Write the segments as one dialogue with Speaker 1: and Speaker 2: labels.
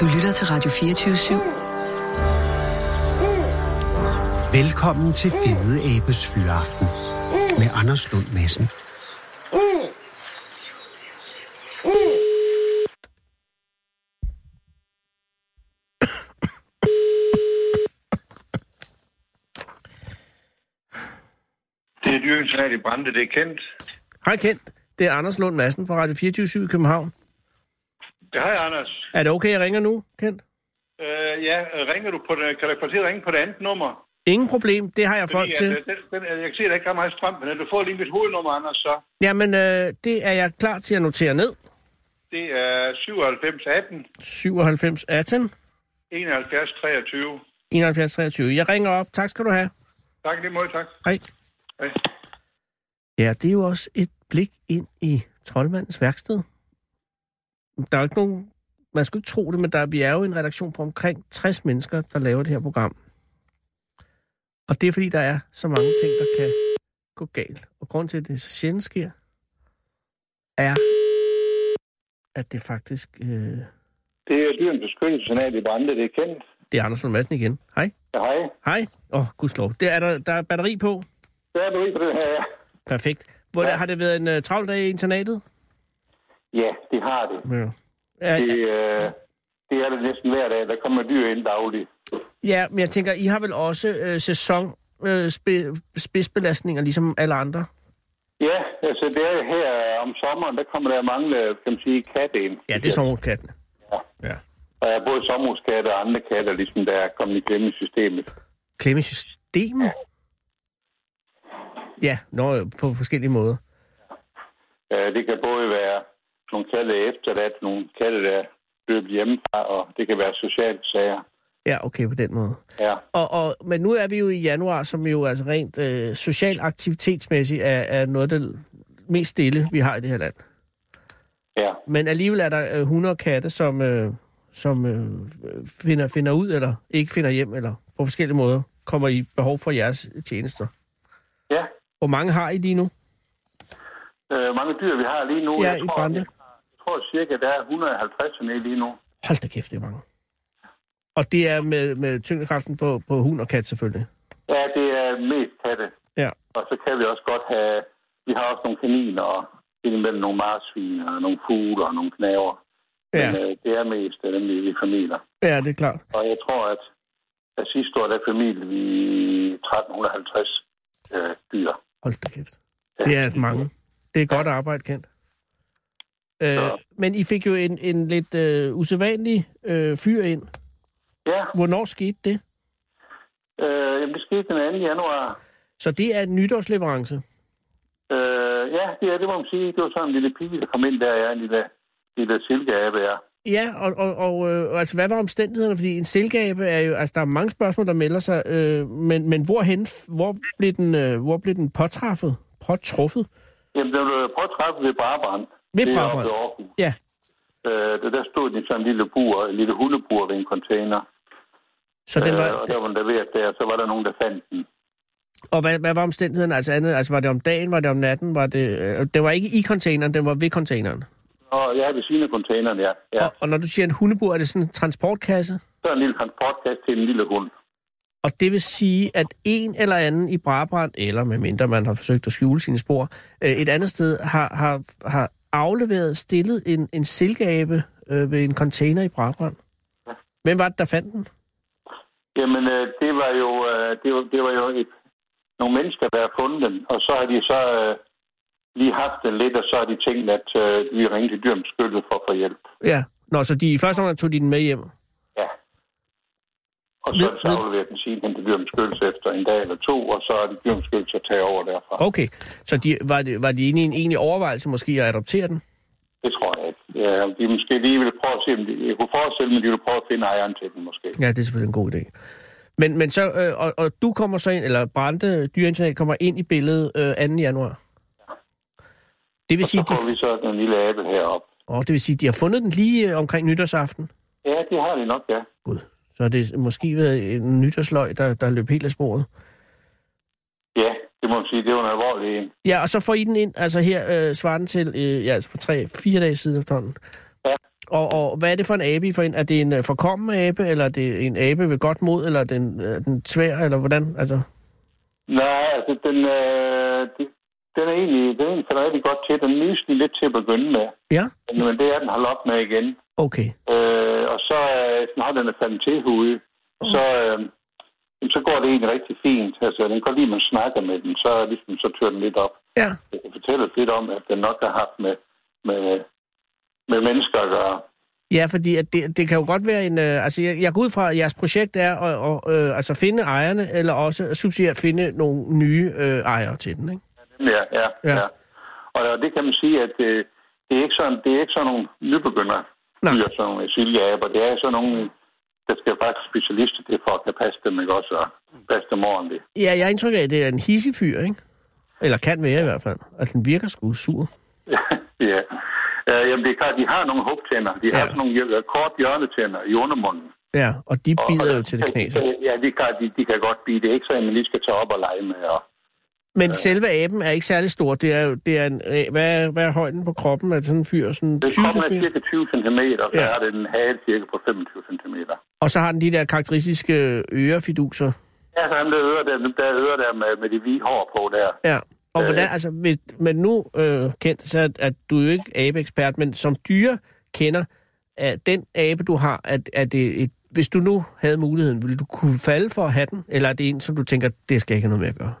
Speaker 1: Du lytter til Radio 24 /7.
Speaker 2: Velkommen til Fede Abes Fyraften med Anders Lund Madsen.
Speaker 3: Det er dyrens nat i Brande, det er kendt.
Speaker 4: Hej Kent, det er Anders Lund Madsen fra Radio 24 i København.
Speaker 3: Det har jeg, Anders.
Speaker 4: Er det okay, jeg ringer nu, Kent?
Speaker 3: Øh, ja, ringer du på det, kan du få til at ringe på det andet nummer?
Speaker 4: Ingen problem, det har jeg folk
Speaker 3: Fordi,
Speaker 4: til.
Speaker 3: at, øh, den, den, øh, jeg kan se, at der ikke er meget strøm, men øh, du får lige mit hovednummer, Anders, så
Speaker 4: Jamen, øh, det er jeg klar til at notere ned.
Speaker 3: det er 97 18
Speaker 4: 97 18
Speaker 3: 71 23.
Speaker 4: 71 23. Jeg ringer op. Tak skal du have.
Speaker 3: Tak, det må jeg, tak.
Speaker 4: Hej.
Speaker 3: Hej.
Speaker 4: Ja, det er jo også et blik ind i troldmandens værksted. Der er jo ikke nogen... Man skulle ikke tro det, men der, vi er jo en redaktion på omkring 60 mennesker, der laver det her program. Og det er fordi, der er så mange ting, der kan gå galt. Og grund til, at det så sjældent sker, er, at det faktisk... Øh,
Speaker 3: Det er dyrens beskyttelse nat i Brande, det er kendt.
Speaker 4: det er Anders Lund Madsen igen. Hej.
Speaker 3: Ja, hej.
Speaker 4: Hej. Åh, oh, gudslov. Der er, der, der er batteri på.
Speaker 3: Der er du ikke på det her, ja.
Speaker 4: Perfekt. Hvor, ja. Har det været en uh, travl dag i internatet?
Speaker 3: Ja, det har det.
Speaker 4: Ja. Ja,
Speaker 3: Det, øh, det er det næsten hver dag. Der kommer dyr ind dagligt.
Speaker 4: ja, men jeg tænker, I har vel også øh, sæson øh, spe, spidsbelastninger, ligesom alle andre?
Speaker 3: Ja, altså det er her om sommeren, der kommer der mange, øh, kan man sige, katte ind.
Speaker 4: Ja, det er sommerkattene.
Speaker 3: Ja.
Speaker 4: Ja.
Speaker 3: Der er både sommerhuskatte og andre katter, ligesom der er kommet i klemme i systemet.
Speaker 4: Klemme i systemet? Ja, når, på forskellige måder.
Speaker 3: Øh, Det kan både være nogle katte der er efterladt, nogle katte, der er løbet hjemmefra, og det kan være sociale sager.
Speaker 4: Ja, okay, på den måde.
Speaker 3: Ja,
Speaker 4: Og, og, men nu er vi jo i januar, som jo altså rent øh, social aktivitetsmæssigt er, er noget af det mest stille, vi har i det her land.
Speaker 3: ja.
Speaker 4: Men alligevel er der øh, 100 katte, som, øh, som øh, finder, finder ud, eller ikke finder hjem, eller på forskellige måder kommer i behov for jeres tjenester.
Speaker 3: ja.
Speaker 4: Hvor mange har I lige nu?
Speaker 3: Øh, mange dyr, vi har lige nu.
Speaker 4: Ja, i Brande.
Speaker 3: Jeg, jeg tror cirka, der er 150 med lige nu.
Speaker 4: Hold da kæft, det er mange. Og det er med, med tyngdekraften på, på hund og kat selvfølgelig.
Speaker 3: Ja, det er mest katte.
Speaker 4: Ja.
Speaker 3: Og så kan vi også godt have... Vi har også nogle kaniner, og indimellem nogle marsvin, og nogle fugle, og nogle knaver.
Speaker 4: Ja,
Speaker 3: Men øh, det er mest af dem, vi, vi familier.
Speaker 4: ja det er klart.
Speaker 3: Og jeg tror, at, at sidste år, der familie vi 1350 øh, dyr.
Speaker 4: Hold da kæft. Det er mange. Det er godt arbejde, Kent. Øh,
Speaker 3: Så.
Speaker 4: men I fik jo en, en lidt øh, usædvanlig øh, fyr ind.
Speaker 3: Ja,
Speaker 4: Hvornår skete det?
Speaker 3: øh, jamen, det skete den 2. januar.
Speaker 4: Så det er en nytårsleverance.
Speaker 3: Øh, ja, det, er, det må man sige. Det var sådan en lille pige, der kom ind der, ja, en lille, lille silkeabe, ja.
Speaker 4: Ja, og, og, og øh, altså, hvad var omstændighederne? Fordi en silkeabe er jo... Altså, der er mange spørgsmål, der melder sig. Øh, men men hvorhen, hvor, blev den, øh, hvor blev den påtræffet? Påtruffet?
Speaker 3: Jamen, den blev påtræffet ved Brabrand.
Speaker 4: Ved
Speaker 3: Det er
Speaker 4: Brabrand?
Speaker 3: oppe i Aarhus.
Speaker 4: Ja.
Speaker 3: Øh, der- der stod den i sådan en lille bur, en lille hundebur ved en container.
Speaker 4: Så den
Speaker 3: øh,
Speaker 4: var,
Speaker 3: og der var den leveret der, og så var der nogen, der fandt den.
Speaker 4: og hvad, hvad var omstændighederne? Altså, andet, altså, var det om dagen? Var det om natten? Var det, øh, det var ikke i containeren, den var ved containeren.
Speaker 3: Og jeg ja, ved siden af containeren, ja. ja.
Speaker 4: Og, og når du siger en hundebur, er det sådan en transportkasse?
Speaker 3: Så en lille transportkasse til en lille hund.
Speaker 4: Og det vil sige, at en eller anden i Brabrand, eller medmindre man har forsøgt at skjule sine spor, øh, et andet sted har, har, har afleveret, stillet en, en silkeabe øh, ved en container i Brabrand. Hvem var det, der fandt den?
Speaker 3: Jamen, øh, det var jo, øh, det var, det var jo et, nogle mennesker, der har fundet den, og så har de så øh, lige haft den lidt, og så har de tænkt, at øh, vi ringer til dyrmskyttet for at få hjælp.
Speaker 4: Ja, Nå, så de, i første omgang tog de den med hjem.
Speaker 3: Ja. Og så
Speaker 4: Ved-
Speaker 3: er det så
Speaker 4: ved-
Speaker 3: afleveret den siden hen til dyrmskyttelse efter en dag eller to, og så er det dyrmskyttelse at tage over derfra.
Speaker 4: Okay, så de, var, de, var de inde i en egentlig overvejelse måske at adoptere den?
Speaker 3: Det tror jeg ikke. Ja, de måske lige ville prøve at se, om de, jeg kunne forestille mig, at de ville prøve at finde ejeren til den måske.
Speaker 4: Ja, det er selvfølgelig en god idé. Men, men så, øh, og, og du kommer så ind, eller Brande Dyreinternat kommer ind i billedet øh, 2. januar. Det vil
Speaker 3: Og så
Speaker 4: sige, de,
Speaker 3: får vi så den lille abe herop.
Speaker 4: Og det vil sige, at de har fundet den lige øh, omkring nytårsaften.
Speaker 3: Ja, det har de nok, ja.
Speaker 4: Gud, så har det måske været en nytårsløg, der, der løb helt af sporet.
Speaker 3: Ja, det må man sige, det var en alvorlig en.
Speaker 4: Ja, og så får I den ind, altså her øh, svarer den til, øh, ja, altså for tre, fire dage siden efterhånden.
Speaker 3: Ja.
Speaker 4: Og, og hvad er det for en abe, I får ind? Er det en øh, forkommen abe, eller er det en abe ved godt mod, eller er den, øh, den tvær, eller hvordan? Altså,
Speaker 3: Nej, altså den, øh, de- den er egentlig, den er egentlig faldet rigtig godt til. Den nyste lidt til at begynde med,
Speaker 4: ja,
Speaker 3: men men det er den holdt op med igen.
Speaker 4: okay.
Speaker 3: Øh, og så, øh, når den er faldet til hude,
Speaker 4: Mm.
Speaker 3: så, øh, jamen, så går det egentlig rigtig fint. Altså, den kan godt lide, at man snakker med den, så, ligesom, så tør den lidt op.
Speaker 4: Ja,
Speaker 3: Det kan fortælle os lidt om, at den nok har haft med, med, med mennesker at gøre.
Speaker 4: ja fordi at det, det kan jo godt være en... Øh, altså, jeg, jeg går ud fra, at jeres projekt er at, at øh, altså finde ejerne, eller også subsidiært finde nogle nye øh, ejere til den, ikke?
Speaker 3: Ja, ja,
Speaker 4: Ja.
Speaker 3: ja. ja. Og det kan man sige, at øh, det er ikke sådan, det er ikke sådan nogle nybegynder,
Speaker 4: Nej.
Speaker 3: dyr, sådan nogle siljeaber. Det er sådan nogle, der skal faktisk specialister til for at kan passe dem, ikke også? Og passe dem ordentligt.
Speaker 4: Ja, jeg har indtryk af, at det er en hissig fyr, ikke? Eller kan være i hvert fald. Altså, den virker sgu sur.
Speaker 3: ja. Øh, jamen, det er klart, de har nogle hugtænder. De har
Speaker 4: Ja.
Speaker 3: ja. sådan nogle hjør- kort hjørnetænder i undermunden.
Speaker 4: Ja, og de
Speaker 3: Og-
Speaker 4: bider
Speaker 3: og-
Speaker 4: jo til det knas.
Speaker 3: Ja, de, kan, de, de kan godt bide. Det er ikke sådan, at man lige skal tage op og lege med. Og,
Speaker 4: Men selve aben er ikke særlig stor. Det er jo, det er en, øh, hvad, er, hvad er højden på kroppen? Er det sådan en fyr? Sådan
Speaker 3: det
Speaker 4: 20
Speaker 3: kommer
Speaker 4: cm?
Speaker 3: cirka 20 cm, og så
Speaker 4: Ja.
Speaker 3: ja. er det en hale cirka på 25 cm.
Speaker 4: Og så har den de der karakteristiske ørefiduser.
Speaker 3: Ja, så han der ører der, der, ører der med, med de hvide hår på der.
Speaker 4: Ja. Og
Speaker 3: Øh.
Speaker 4: hvordan, altså, hvis, men nu, øh, Kent, så er at du er jo ikke abeekspert, men som dyre kender, er den abe, du har, at, at det et, hvis du nu havde muligheden, ville du kunne falde for at have den? Eller er det en, som du tænker, det skal jeg ikke have noget med at gøre?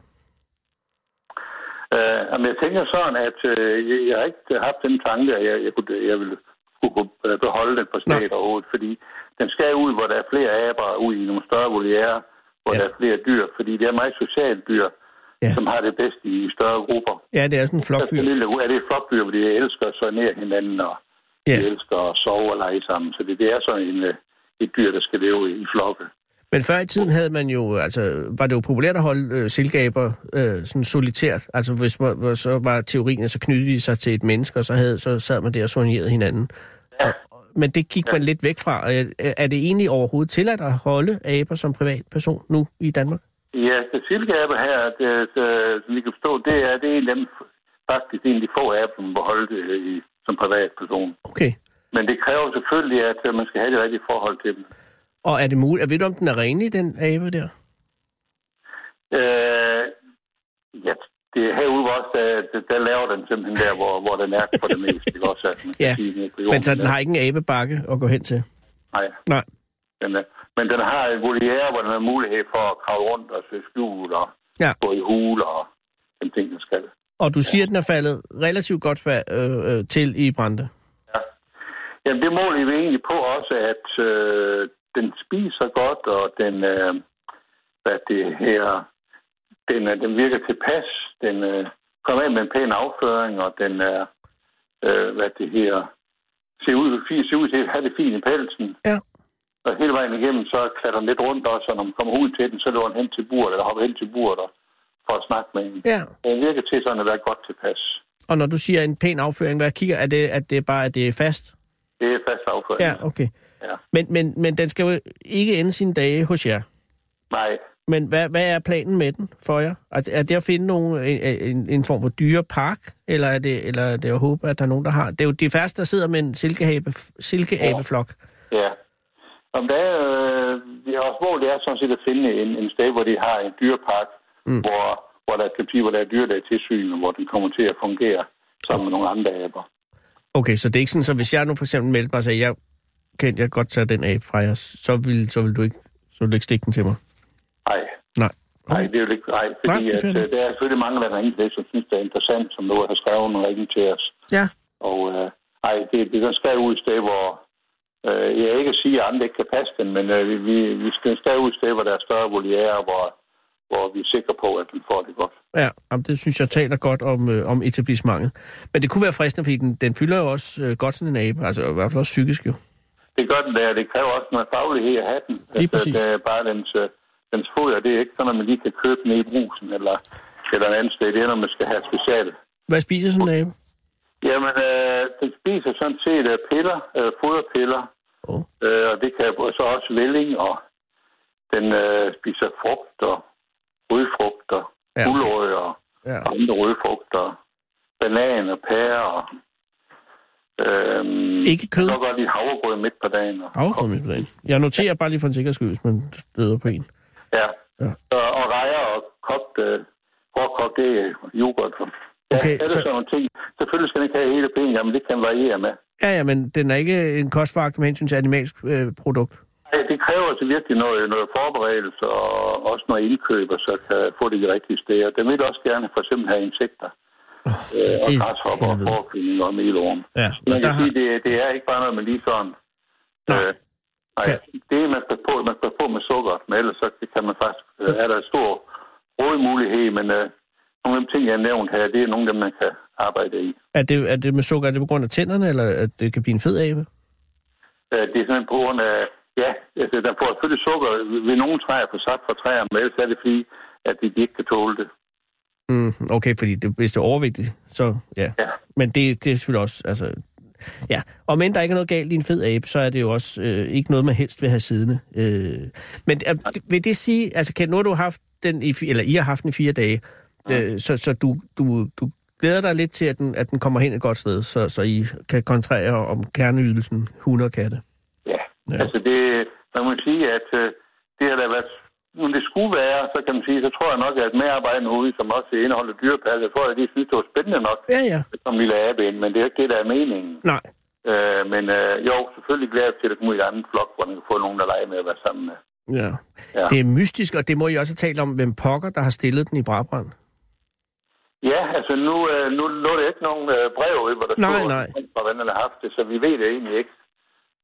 Speaker 3: Øh, men jeg tænker sådan, at øh, jeg, jeg har ikke haft den tanke, at jeg, jeg, kunne, jeg ville kunne kunne, øh, beholde den på stedet overhovedet, fordi den skal ud, hvor der er flere aber, ud i nogle større voliere, hvor
Speaker 4: Ja.
Speaker 3: ja. der er flere dyr, fordi det er meget socialt dyr,
Speaker 4: Ja.
Speaker 3: ja. som har det bedst i større grupper.
Speaker 4: Ja, det er sådan en
Speaker 3: Der skal
Speaker 4: flokfyr.
Speaker 3: lille ud. Er det flokdyr, hvor de elsker at ned hinanden, og
Speaker 4: Ja.
Speaker 3: ja. de elsker at sove og lege sammen. Så det, det er sådan en, øh, et dyr, der skal leve i, i flokke.
Speaker 4: Men før i tiden havde man jo, altså, var det jo populært at holde øh, silkeaber øh, sådan solitært. Altså, hvis man, hvor så var teorien, at så knyttede de sig til et menneske, og så, havde, så sad man der og soignerede hinanden. Ja. Og, men det gik ja. man lidt væk fra. Og, øh, Er det egentlig overhovedet tilladt at holde aber som privatperson nu i Danmark?
Speaker 3: Ja, det silkeabe her, øh, det, det, som I kan forstå, det er, det er en af dem, faktisk en af de få aber, som må holde det øh, i, som privatperson.
Speaker 4: Okay.
Speaker 3: Men det kræver selvfølgelig, at øh, man skal have det rigtige forhold til dem.
Speaker 4: Og er det muligt? Ved du, om den er renlig, den abe der?
Speaker 3: Øh, ja, det er herude hvor også, der, der- der, laver den simpelthen der, hvor, hvor den er for det meste. Ikke også, at man skal
Speaker 4: Ja,
Speaker 3: sige, den er på
Speaker 4: Men
Speaker 3: jorden.
Speaker 4: så den har ikke en abebakke at gå hen til?
Speaker 3: Nej,
Speaker 4: Nej.
Speaker 3: den er, men den har en voliere, hvor den har mulighed for at kravle rundt og søge skjul og
Speaker 4: Ja.
Speaker 3: gå i huler og den ting, den skal.
Speaker 4: Og du siger, at den er faldet relativt godt fa- øh, øh, til i Brande?
Speaker 3: Jamen, det måler vi egentlig på også, at øh, den spiser godt, og den, øh, hvad det her, den, øh, den virker tilpas, den øh, kommer af med en pæn afføring, og den er, øh, hvad det her, ser ud, fi- ser ud til at have det fint i pelsen.
Speaker 4: Ja.
Speaker 3: Og hele vejen igennem, så klatter den lidt rundt også, og når man kommer ud til den, så løber den hen til buret, eller hopper hen til buret og, for at snakke med en.
Speaker 4: Ja.
Speaker 3: Den virker til sådan at være godt tilpas.
Speaker 4: Og når du siger en pæn afføring, hvad kigger, er det, at det bare er det er fast?
Speaker 3: Det er fast afføring.
Speaker 4: Ja, okay.
Speaker 3: Ja.
Speaker 4: Men, men, men den skal jo ikke ende sine dage hos jer.
Speaker 3: Nej,
Speaker 4: Men hvad, hvad er planen med den for jer? Altså, er det at finde nogle, en- en, en form for dyrepark, eller er det, eller er det at håbe, at der er nogen, der har? Det er jo de færreste, der sidder med en silkeabe, silkeabeflok.
Speaker 3: Ja. Om der er, øh, ja, også mål, det er sådan set at finde en, en sted, hvor de har en dyrepark, mm. hvor, hvor der kan blive, hvor der er dyr, der er tilsyn, og hvor den kommer til at fungere sammen med nogle andre aber.
Speaker 4: Okay, så det er ikke sådan, så hvis jeg nu for eksempel meldte mig og sagde, jeg kan jeg kan godt tage den abe fra jer, så vil, så vil du ikke, så vil du ikke stikke den til mig?
Speaker 3: Nej,
Speaker 4: Nej.
Speaker 3: nej, det er jo ikke nej,
Speaker 4: Nej,
Speaker 3: fordi
Speaker 4: det er
Speaker 3: at,
Speaker 4: fair nok.
Speaker 3: øh, der er selvfølgelig mange, der ringer til det, som synes, det er interessant, som nu har skrevet en ringe til os.
Speaker 4: Ja,
Speaker 3: Og øh, ej, det, det den skal ud et sted, hvor... Øh, jeg vil ikke sige, at andre ikke kan passe den, men øh, vi- vi, vi skal, skal ud et sted, hvor der er større voliere, hvor, hvor vi er sikre på, at den får det godt.
Speaker 4: Ja, jamen, det synes jeg taler godt om, øh, om etablissementet. Men det kunne være fristende, fordi den, den fylder jo også øh, godt sådan en abe, altså i hvert fald også psykisk jo.
Speaker 3: Det gør den der, det kræver også noget faglighed at have den.
Speaker 4: præcis.
Speaker 3: det er bare dens, øh, dens foder, det er ikke sådan, at man lige kan købe den i brusen eller, eller et andet sted. Det er, når man skal have speciale.
Speaker 4: Hvad spiser sådan en abe?
Speaker 3: Jamen, øh, den spiser sådan set øh, piller, øh, foderpiller,
Speaker 4: Åh, oh,
Speaker 3: øh, og det kan og så også vælling, og den øh, spiser frugt og rødfrugter,
Speaker 4: Ja, okay.
Speaker 3: ja, gulerødder,
Speaker 4: ja.
Speaker 3: og andre rødfrugter, bananer, pærer og Øhm,
Speaker 4: Ikke kød?
Speaker 3: Jeg kan godt lide havregrød midt på dagen. Og,
Speaker 4: Afgrød midt på dagen. Jeg noterer bare lige for en sikkerheds skyld, hvis man støder på en.
Speaker 3: ja.
Speaker 4: Ja.
Speaker 3: Og, og rejer og kogt, øh, hårdkogt det er yoghurt. Ja,
Speaker 4: Okay,
Speaker 3: alle
Speaker 4: så-
Speaker 3: så... sådan nogle ting. Selvfølgelig skal den ikke have hele ben, jamen det kan variere med.
Speaker 4: Ja, ja, men den er ikke en kostvagt med hensyn til animalsk øh, produkt.
Speaker 3: Ej, det kræver altså virkelig noget, noget forberedelse og også noget indkøb, og så kan få det de rigtige steder. Den vil også gerne for eksempel have insekter. øh, og
Speaker 4: det er
Speaker 3: græshopper og
Speaker 4: helvede.
Speaker 3: forkvind og melorm.
Speaker 4: Ja,
Speaker 3: Man
Speaker 4: og der
Speaker 3: kan
Speaker 4: har,
Speaker 3: sige, det, det er ikke bare noget, man lige sådan...
Speaker 4: Nej.
Speaker 3: Øh, nej,
Speaker 4: Kan-
Speaker 3: det er, man skal på, man skal på med sukker, men ellers så kan man faktisk... Øh, er der en stor rådmulighed, men øh, nogle af de ting, jeg har nævnt her, det er nogle af dem, man kan arbejde i.
Speaker 4: er, det, er det med sukker, er det på grund af tænderne, eller at det kan blive en fed abe?
Speaker 3: Øh, det er simpelthen på grund af... Ja, altså, der får selvfølgelig sukker ved nogle træer på sap fra træer, men ellers er det fordi, at de, de ikke kan tåle det.
Speaker 4: Mm, okay, fordi det, hvis det er overvægtigt, så ja.
Speaker 3: Ja.
Speaker 4: Men det, det er selvfølgelig også, altså... Ja, og men der ikke er noget galt i en fed abe, så er det jo også øh, ikke noget, man helst vil have siddende. Øh, men er, vil det sige, altså Kent, nu har du haft den i, fi- eller I har haft den i fire dage, øh, så, så du, du, du glæder dig lidt til, at den, at den kommer hen et godt sted, så, så I kan kontrere om kerneydelsen hunde og katte.
Speaker 3: Ja,
Speaker 4: Ja.
Speaker 3: ja. altså det, man må sige, at øh, det har da været, nu det skulle være, så kan man sige, så tror jeg nok, at medarbejderne ude, som også indeholder dyrepas, jeg tror, at de synes, det var spændende nok,
Speaker 4: Ja, ja.
Speaker 3: som lille abe ind, men det er jo ikke det, der er meningen.
Speaker 4: Nej.
Speaker 3: Øh, men øh, jo, selvfølgelig glæder jeg mig til, at komme ud i en anden flok, hvor man kan få nogen, der leger med at være sammen med.
Speaker 4: Ja.
Speaker 3: Ja.
Speaker 4: Det er mystisk, og det må I også have talt om, hvem pokker, der har stillet den i Brabrand.
Speaker 3: Ja, altså nu, øh, nu lå der ikke nogen øh, brev, øh, hvor der
Speaker 4: Nej,
Speaker 3: stod,
Speaker 4: nej.
Speaker 3: fra hvordan han har haft det, så vi ved det egentlig ikke.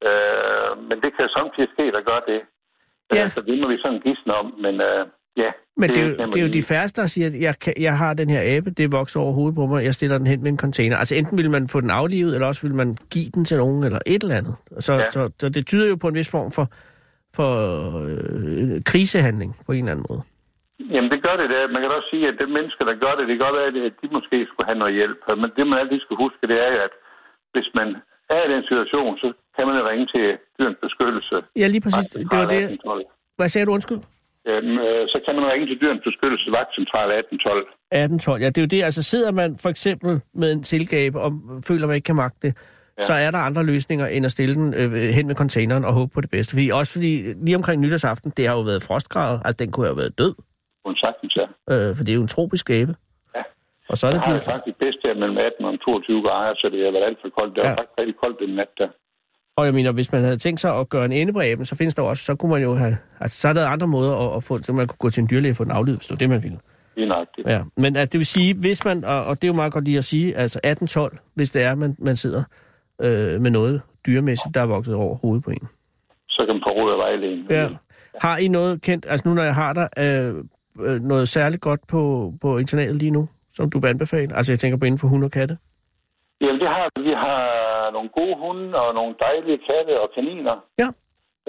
Speaker 3: Øh, men det kan samtidig ske, der gør det.
Speaker 4: Ja.
Speaker 3: Øh, så det må vi sådan gisne om, men øh, ja.
Speaker 4: Men det, er jo,
Speaker 3: kan man
Speaker 4: det er jo
Speaker 3: lige-
Speaker 4: de færreste, der siger, at jeg, kan, jeg har den her abe, det vokser over hovedet på mig, jeg stiller den hen med en container. Altså enten vil man få den aflivet, eller også vil man give den til nogen, eller et eller andet. Så, ja.
Speaker 3: Ja.
Speaker 4: så, så det tyder jo på en vis form for, for øh, krisehandling, på en eller anden måde.
Speaker 3: Jamen, det gør det da. Man kan da også sige, at de mennesker, der gør det, det kan godt være, at de måske skulle have noget hjælp. Men det, man altid skal huske, det er, at hvis man er i den situation, så kan man jo ringe til dyrens beskyttelse.
Speaker 4: Ja, lige præcis. Det var det.
Speaker 3: 1812.
Speaker 4: Hvad sagde du, undskyld?
Speaker 3: Øhm, øh, så kan man ringe til dyrens beskyttelse, vagtcentral 1812.
Speaker 4: 1812. Ja, det er jo det. Altså sidder man for eksempel med en tilgabe og føler, man ikke kan magte det, ja. så er der andre løsninger end at stille den øh, hen med containeren og håbe på det bedste. Fordi, også fordi lige omkring nytårsaften, det har jo været frostgrader. Altså den kunne jo have været død,
Speaker 3: Hun sagtens er.
Speaker 4: øh, for det er jo en tropisk abe.
Speaker 3: Ja.
Speaker 4: Og så er det
Speaker 3: Jeg har det
Speaker 4: pludselig...
Speaker 3: faktisk bedst der mellem 18 og 22 grader, så det har været alt for koldt. Det var
Speaker 4: Ja.
Speaker 3: faktisk rigtig koldt den nat der.
Speaker 4: Og jeg mener, hvis man havde tænkt sig at gøre en ende på aben, så findes der jo også, så kunne man jo have... Altså, så er der andre måder at, at få... Så man kunne gå til en dyrlæge og få den aflivet, hvis det var det, man ville.
Speaker 3: Lige nøjagtigt.
Speaker 4: Ja, men at det vil sige, hvis man, og, og det er jo meget godt lige at sige, altså 18-12, hvis det er, man, man sidder øh, med noget dyremæssigt, der er vokset over hovedet på en.
Speaker 3: Så kan man få råd af vejledning.
Speaker 4: Ja. Har I noget kendt, altså nu når jeg har dig, øh, øh, noget særligt godt på, på internatet lige nu, som du vil anbefale? Altså jeg tænker på inden for hunde og katte.
Speaker 3: Jamen, det har vi. Vi har nogle gode hunde og nogle dejlige katte og kaniner.
Speaker 4: Ja.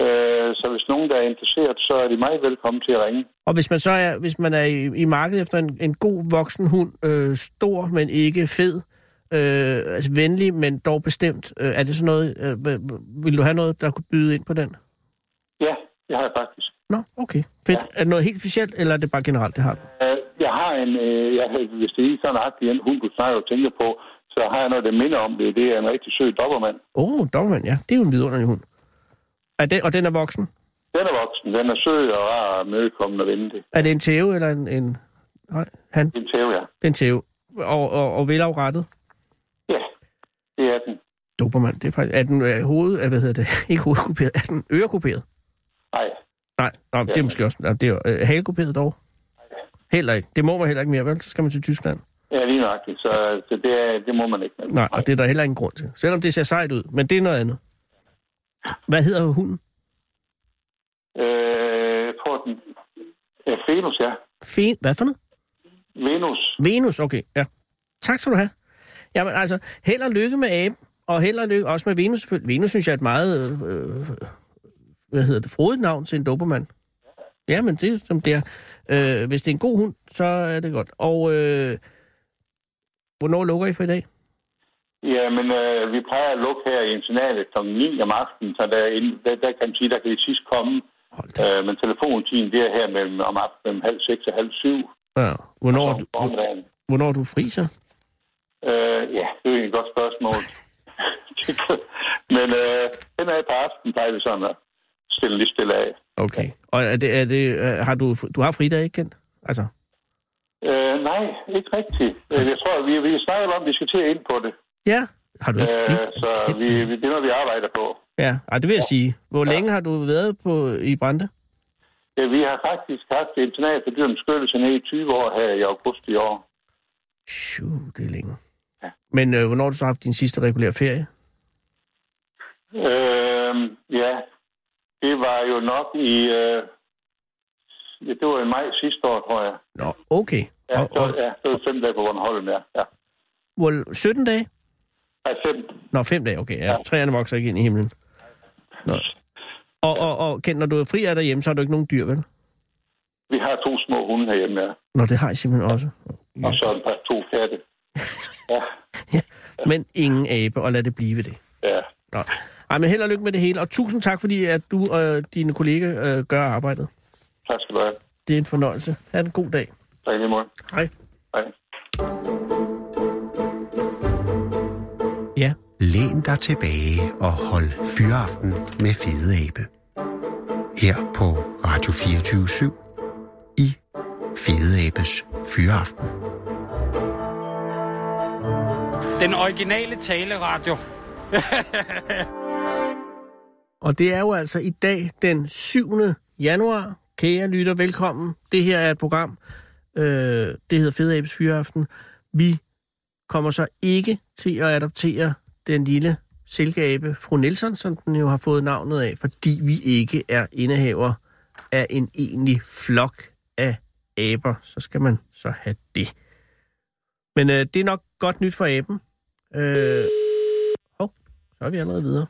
Speaker 3: Øh, så hvis nogen, der er interesseret, så er de meget velkommen til at ringe.
Speaker 4: Og hvis man så er, hvis man er i, i markedet efter en, en god voksen hund, øh, stor, men ikke fed, øh, altså venlig, men dog bestemt, øh, er det sådan noget, øh, hva- vil du have noget, der kunne byde ind på den?
Speaker 3: Ja, det har jeg faktisk.
Speaker 4: Nå, okay. Fedt. Ja. Er det noget helt specielt, eller er det bare generelt, det har du?
Speaker 3: Øh, jeg har en, øh, jeg, har- hvis det er lige sådan agtig, en hund, du snakker og tænker på, så har jeg noget, der minder om det. Det er en rigtig sød dobbermand.
Speaker 4: Åh, oh, Doberman, ja. Det er jo en vidunderlig hund. Er det, og den er voksen?
Speaker 3: Den er voksen, den er sød og rar og mødekommende og venlig.
Speaker 4: Er det en tæve, eller en... en nej, han?
Speaker 3: Den tæver jeg.
Speaker 4: Det er en tæve. Og, og, og velafrettet?
Speaker 3: Ja, det er den.
Speaker 4: Doberman, det er faktisk... Er den øh, hoved... øh, Hvad hedder det? Ikke hovedkuperet. Er den ørekuperet?
Speaker 3: Nej,
Speaker 4: Nej, nå, det er
Speaker 3: Ja.
Speaker 4: måske også... Nej, det er jo, øh, halekuperet dog. Heller ikke. Det må man heller ikke mere, vel? Så skal man til Tyskland.
Speaker 3: ja, lige nøjagtigt. Så, så det, er, det må man ikke. Men-
Speaker 4: Nej, og det er der heller ingen grund til. Selvom det ser sejt ud, men det er noget andet. Hvad hedder hunden?
Speaker 3: Øh, jeg tror, den... Ja, Venus, ja.
Speaker 4: Fe... Hvad for noget?
Speaker 3: Venus.
Speaker 4: Venus, okay, ja. Tak skal du have. Jamen altså, held og lykke med aben, og held og lykke også med Venus selvfølgelig. Venus synes jeg er et meget, øh, hvad hedder det, frodigt navn til en dobermand. Ja, men det er som det er. Øh, hvis det er en god hund, så er det godt. Og øh, hvornår lukker I for i dag?
Speaker 3: Ja, men øh, vi plejer at lukke her i internatet kl. 9 om aftenen, så der, ind- der, der kan man sige, der kan de sidst komme.
Speaker 4: Hold da.
Speaker 3: Øh, men telefontiden, det er her mellem, om aftenen mellem halv seks og halv syv.
Speaker 4: Ja. Hvornår, er
Speaker 3: om
Speaker 4: du,
Speaker 3: formiddagen.
Speaker 4: hvornår er du fri så?
Speaker 3: Øh, ja, det er jo et godt spørgsmål. Men øh, den er på aftenen, plejer vi sådan at stille lige stille af.
Speaker 4: Okay. Og er det, er det, øh, har du, du har fridag, ikke kendt? Altså,
Speaker 3: Øh, nej, ikke rigtigt. Øh, Jeg tror, vi, vi snakker om, at vi skal til at ind på det.
Speaker 4: ja. Har du ikke fri?
Speaker 3: Øh, så vi, vi, det er noget, vi arbejder på.
Speaker 4: Ja, Ej, det vil jeg sige. Hvor længe har du været på, i Brande?
Speaker 3: Ja, vi har faktisk haft et internat for dyrens beskyttelse ned i 20 år her i august i år.
Speaker 4: Shoo, det er længe.
Speaker 3: Ja.
Speaker 4: Men øh, hvornår har du så haft din sidste regulære ferie?
Speaker 3: Øh, ja, det var jo nok i... Øh, ja, det var i maj sidste år, tror jeg.
Speaker 4: Nå, okay.
Speaker 3: Ja,
Speaker 4: Og,
Speaker 3: så,
Speaker 4: og,
Speaker 3: ja, det var fem dage på Bornholm, ja. ja.
Speaker 4: hvor, 17 dage?
Speaker 3: Ej, fem.
Speaker 4: Nå, fem dage, okay. Ja, træerne vokser ikke ind i himlen. Nå. Og, og, og Kent, når du er fri af derhjemme, så har du ikke nogen dyr, vel?
Speaker 3: Vi har to små hunde herhjemme, ja.
Speaker 4: Nå, det har jeg simpelthen også.
Speaker 3: Og så et par to katte. Ja,
Speaker 4: Men ingen abe, og lad det blive ved det.
Speaker 3: ja.
Speaker 4: Nå. Ej, men held og lykke med det hele, og tusind tak, fordi at du og dine kolleger øh, gør arbejdet.
Speaker 3: Tak skal du have.
Speaker 4: Det er en fornøjelse. Ha' en god dag.
Speaker 3: Tak i lige måde.
Speaker 4: Hej.
Speaker 3: Hej.
Speaker 4: Ja,
Speaker 2: Læn dig tilbage og hold fyraften med Fede Abe. Her på Radio 24 i Fede Abes Fyraften.
Speaker 5: Den originale taleradio.
Speaker 4: og det er jo altså i dag den 7. januar. Kære lytter, velkommen. Det her er et program. Øh, det hedder Fede Abes Fyraften. Vi kommer så ikke til at adoptere den lille silkeabe, fru Nielsen, som den jo har fået navnet af, fordi vi ikke er indehaver af en egentlig flok af aber. Så skal man så have det. Men øh, det er nok godt nyt for aben. Øh, hov, så er vi allerede videre.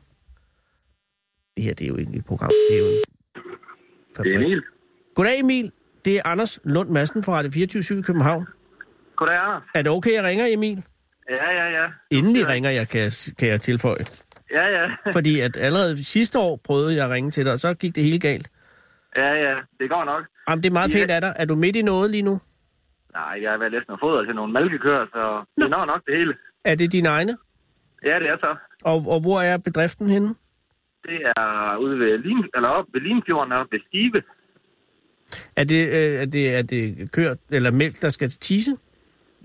Speaker 4: Det her, det er jo ikke et program. Det er jo en fabrik. Goddag Emil. Det er Anders Lund Madsen fra Radio 24 i København.
Speaker 6: Goddag, Anders.
Speaker 4: Er det okay, jeg ringer, Emil?
Speaker 6: Ja, ja, ja.
Speaker 4: Endelig ringer jeg, kan jeg, kan jeg tilføje.
Speaker 6: Ja, ja.
Speaker 4: Fordi at allerede sidste år prøvede jeg at ringe til dig, og så gik det hele galt.
Speaker 6: Ja, ja. Det går nok.
Speaker 4: Jamen, det er meget
Speaker 6: Ja.
Speaker 4: pænt af dig. Er du midt i noget lige nu?
Speaker 6: Nej, jeg har været læst noget foder til nogle malkekøer, så det når nok det hele.
Speaker 4: Er det dine egne?
Speaker 6: Ja, det er så.
Speaker 4: Og, og hvor er bedriften henne?
Speaker 6: Det er ude ved, Lim, eller op ved Limfjorden og ved Skive.
Speaker 4: Er det, øh, er det, er det kørt eller mælk, der skal til tise?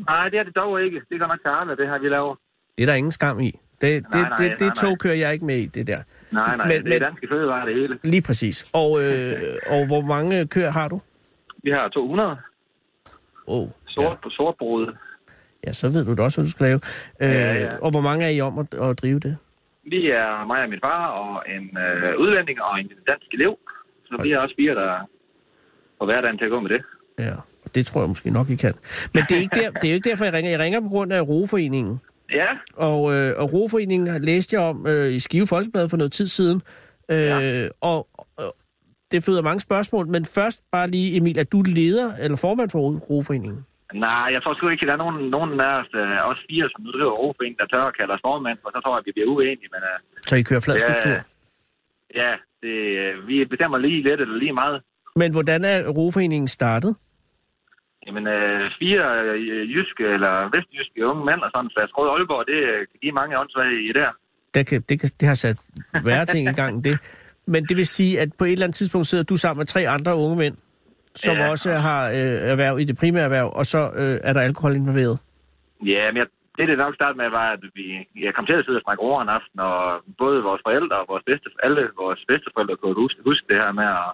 Speaker 6: Nej, det er det dog ikke. Det går nok til Arla, det her, vi laver.
Speaker 4: Det er der ingen skam i. Det, det,
Speaker 6: Nej, nej,
Speaker 4: det, det,
Speaker 6: nej, nej.
Speaker 4: tog kører jeg ikke med i, det der.
Speaker 6: Nej, nej,
Speaker 4: Men-
Speaker 6: men, det er
Speaker 4: men-
Speaker 6: danske fødevarer, det hele.
Speaker 4: Lige præcis. Og, øh, og hvor mange køer har du?
Speaker 6: Vi har 200
Speaker 4: Åh, oh,
Speaker 6: sort på sortbrud.
Speaker 4: ja, så ved du det også, hvad du skal lave. Øh,
Speaker 6: Ja, ja.
Speaker 4: Og hvor mange er I om at, at drive det?
Speaker 6: Vi er mig og min far og en øh, udlænding og en dansk elev. Så vi er også fire, der får hverdagen til at gå med det.
Speaker 4: Ja, og det tror jeg måske nok, I kan. Men det er, ikke der, det er jo ikke derfor, jeg ringer. Jeg ringer på grund af Roforeningen.
Speaker 6: Ja,
Speaker 4: Og, øh, og Roforeningen læste jeg om øh, i Skive Folkeblad for noget tid siden. Øh, ja. Og øh, det føder mange spørgsmål, men først bare lige, Emil, at du leder eller formand for Roforeningen.
Speaker 6: Nej, jeg tror sgu ikke, at der er nogen, nogen af os, øh, os fire, som nu driver Aarhusbanen, der tør at kalde os formand, for så tror jeg, at vi bliver uenige. Men øh,
Speaker 4: Så I kører flad
Speaker 6: Ja.
Speaker 4: struktur.
Speaker 6: ja, det, øh, vi bestemmer lige lidt eller lige meget.
Speaker 4: Men hvordan er Roforeningen startet?
Speaker 6: Jamen, øh, fire øh, jyske eller vestjyske unge mænd og sådan, så jeg tror, Aalborg, det øh, kan give mange åndssvage i der.
Speaker 4: Der kan, det, kan, det har sat værre ting i gang, det. Men det vil sige, at på et eller andet tidspunkt sidder du sammen med tre andre unge mænd, som ja.
Speaker 6: Ja.
Speaker 4: også har øh, erhverv i det primære erhverv, og så øh, er der alkohol involveret.
Speaker 6: Ja, men jeg, det, det nok startede med, var, at vi, jeg kom til at sidde og snakke over en aften, og både vores forældre og vores bedste, alle vores bedsteforældre kunne huske, huske det her med, at,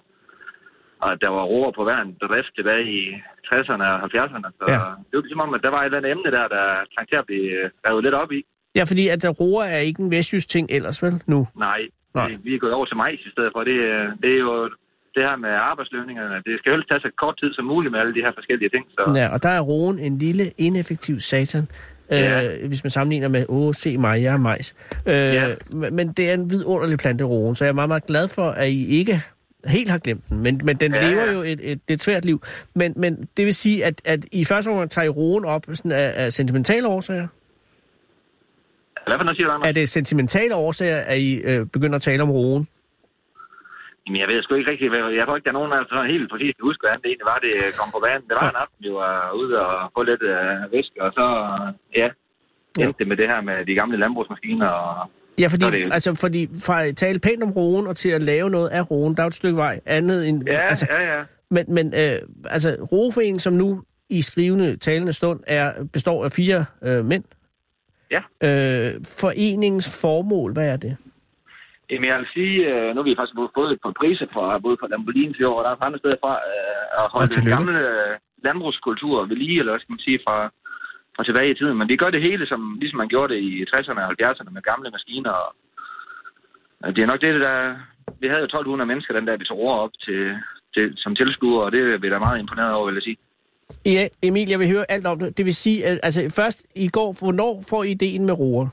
Speaker 6: at der var roer på hver en bedrift tilbage i 60'erne og 70'erne. Så
Speaker 4: Ja.
Speaker 6: ja. det var ligesom om, at der var et eller andet emne der, der trængte til at blive øh, revet lidt op i.
Speaker 4: Ja, fordi at roer er ikke en vestjysk ting ellers, vel, nu?
Speaker 6: Nej,
Speaker 4: Nej.
Speaker 6: Nej. Vi, vi er gået over til majs i stedet for. Det, øh, det er jo det her med arbejdslønningerne. Det skal jo helst tage så kort tid som muligt med alle de her forskellige ting. Så
Speaker 4: Ja, og der er roen en lille, ineffektiv satan, øh,
Speaker 6: Ja.
Speaker 4: hvis man sammenligner med, åh, se mig, jeg er majs. Øh, ja.
Speaker 6: Ja.
Speaker 4: Men det er en vidunderlig plante, roen, så jeg er meget, meget glad for, at I ikke helt har glemt den, men, men den ja,
Speaker 6: Ja,
Speaker 4: lever
Speaker 6: ja.
Speaker 4: jo et, et, et svært liv. Men, men det vil sige, at, at i første omgang tager I roen op sådan af, af sentimentale årsager.
Speaker 6: hvad for noget siger du, Anders?
Speaker 4: Er det sentimentale årsager, at I øh, begynder at tale om roen?
Speaker 6: Jamen, jeg ved sgu ikke rigtig, hvad- jeg tror ikke, der er nogen, der sådan helt præcis kan huske, hvordan det egentlig var, det kom på banen. Det var en aften, vi var ude og få lidt øh, væske, og så, øh, ja,
Speaker 4: Ja.
Speaker 6: ja. endte det med det her med de gamle landbrugsmaskiner. Og,
Speaker 4: Ja, fordi,
Speaker 6: Nå, det er-
Speaker 4: altså, fordi fra at tale pænt om roen og til at lave noget af roen, der er jo et stykke vej andet end...
Speaker 6: ja,
Speaker 4: altså,
Speaker 6: altså, ja, ja.
Speaker 4: Men, men øh, altså, roforeningen, som nu i skrivende talende stund er, består af fire øh, mænd.
Speaker 6: Ja.
Speaker 4: Øh, foreningens formål, hvad er det?
Speaker 6: Jamen, jeg vil sige, øh, nu har vi faktisk fået et par priser fra både fra Lamborghini til år, og der er fra andre steder fra øh, at holde den
Speaker 4: tillykke.
Speaker 6: gamle øh, landbrugskultur ved lige, eller hvad skal man sige, fra, fra tilbage i tiden. Men vi gør det hele, som, ligesom man gjorde det i 60'erne og 70'erne med gamle maskiner. Og, og det er nok det, der... Vi havde jo 1200 mennesker den dag, vi tog over op til, til, som tilskuere, og det er vi da meget imponeret over, vil jeg sige.
Speaker 4: Ja, E, Emil, jeg vil høre alt om det. Det vil sige, at, altså først i går, hvornår får I ideen med roer?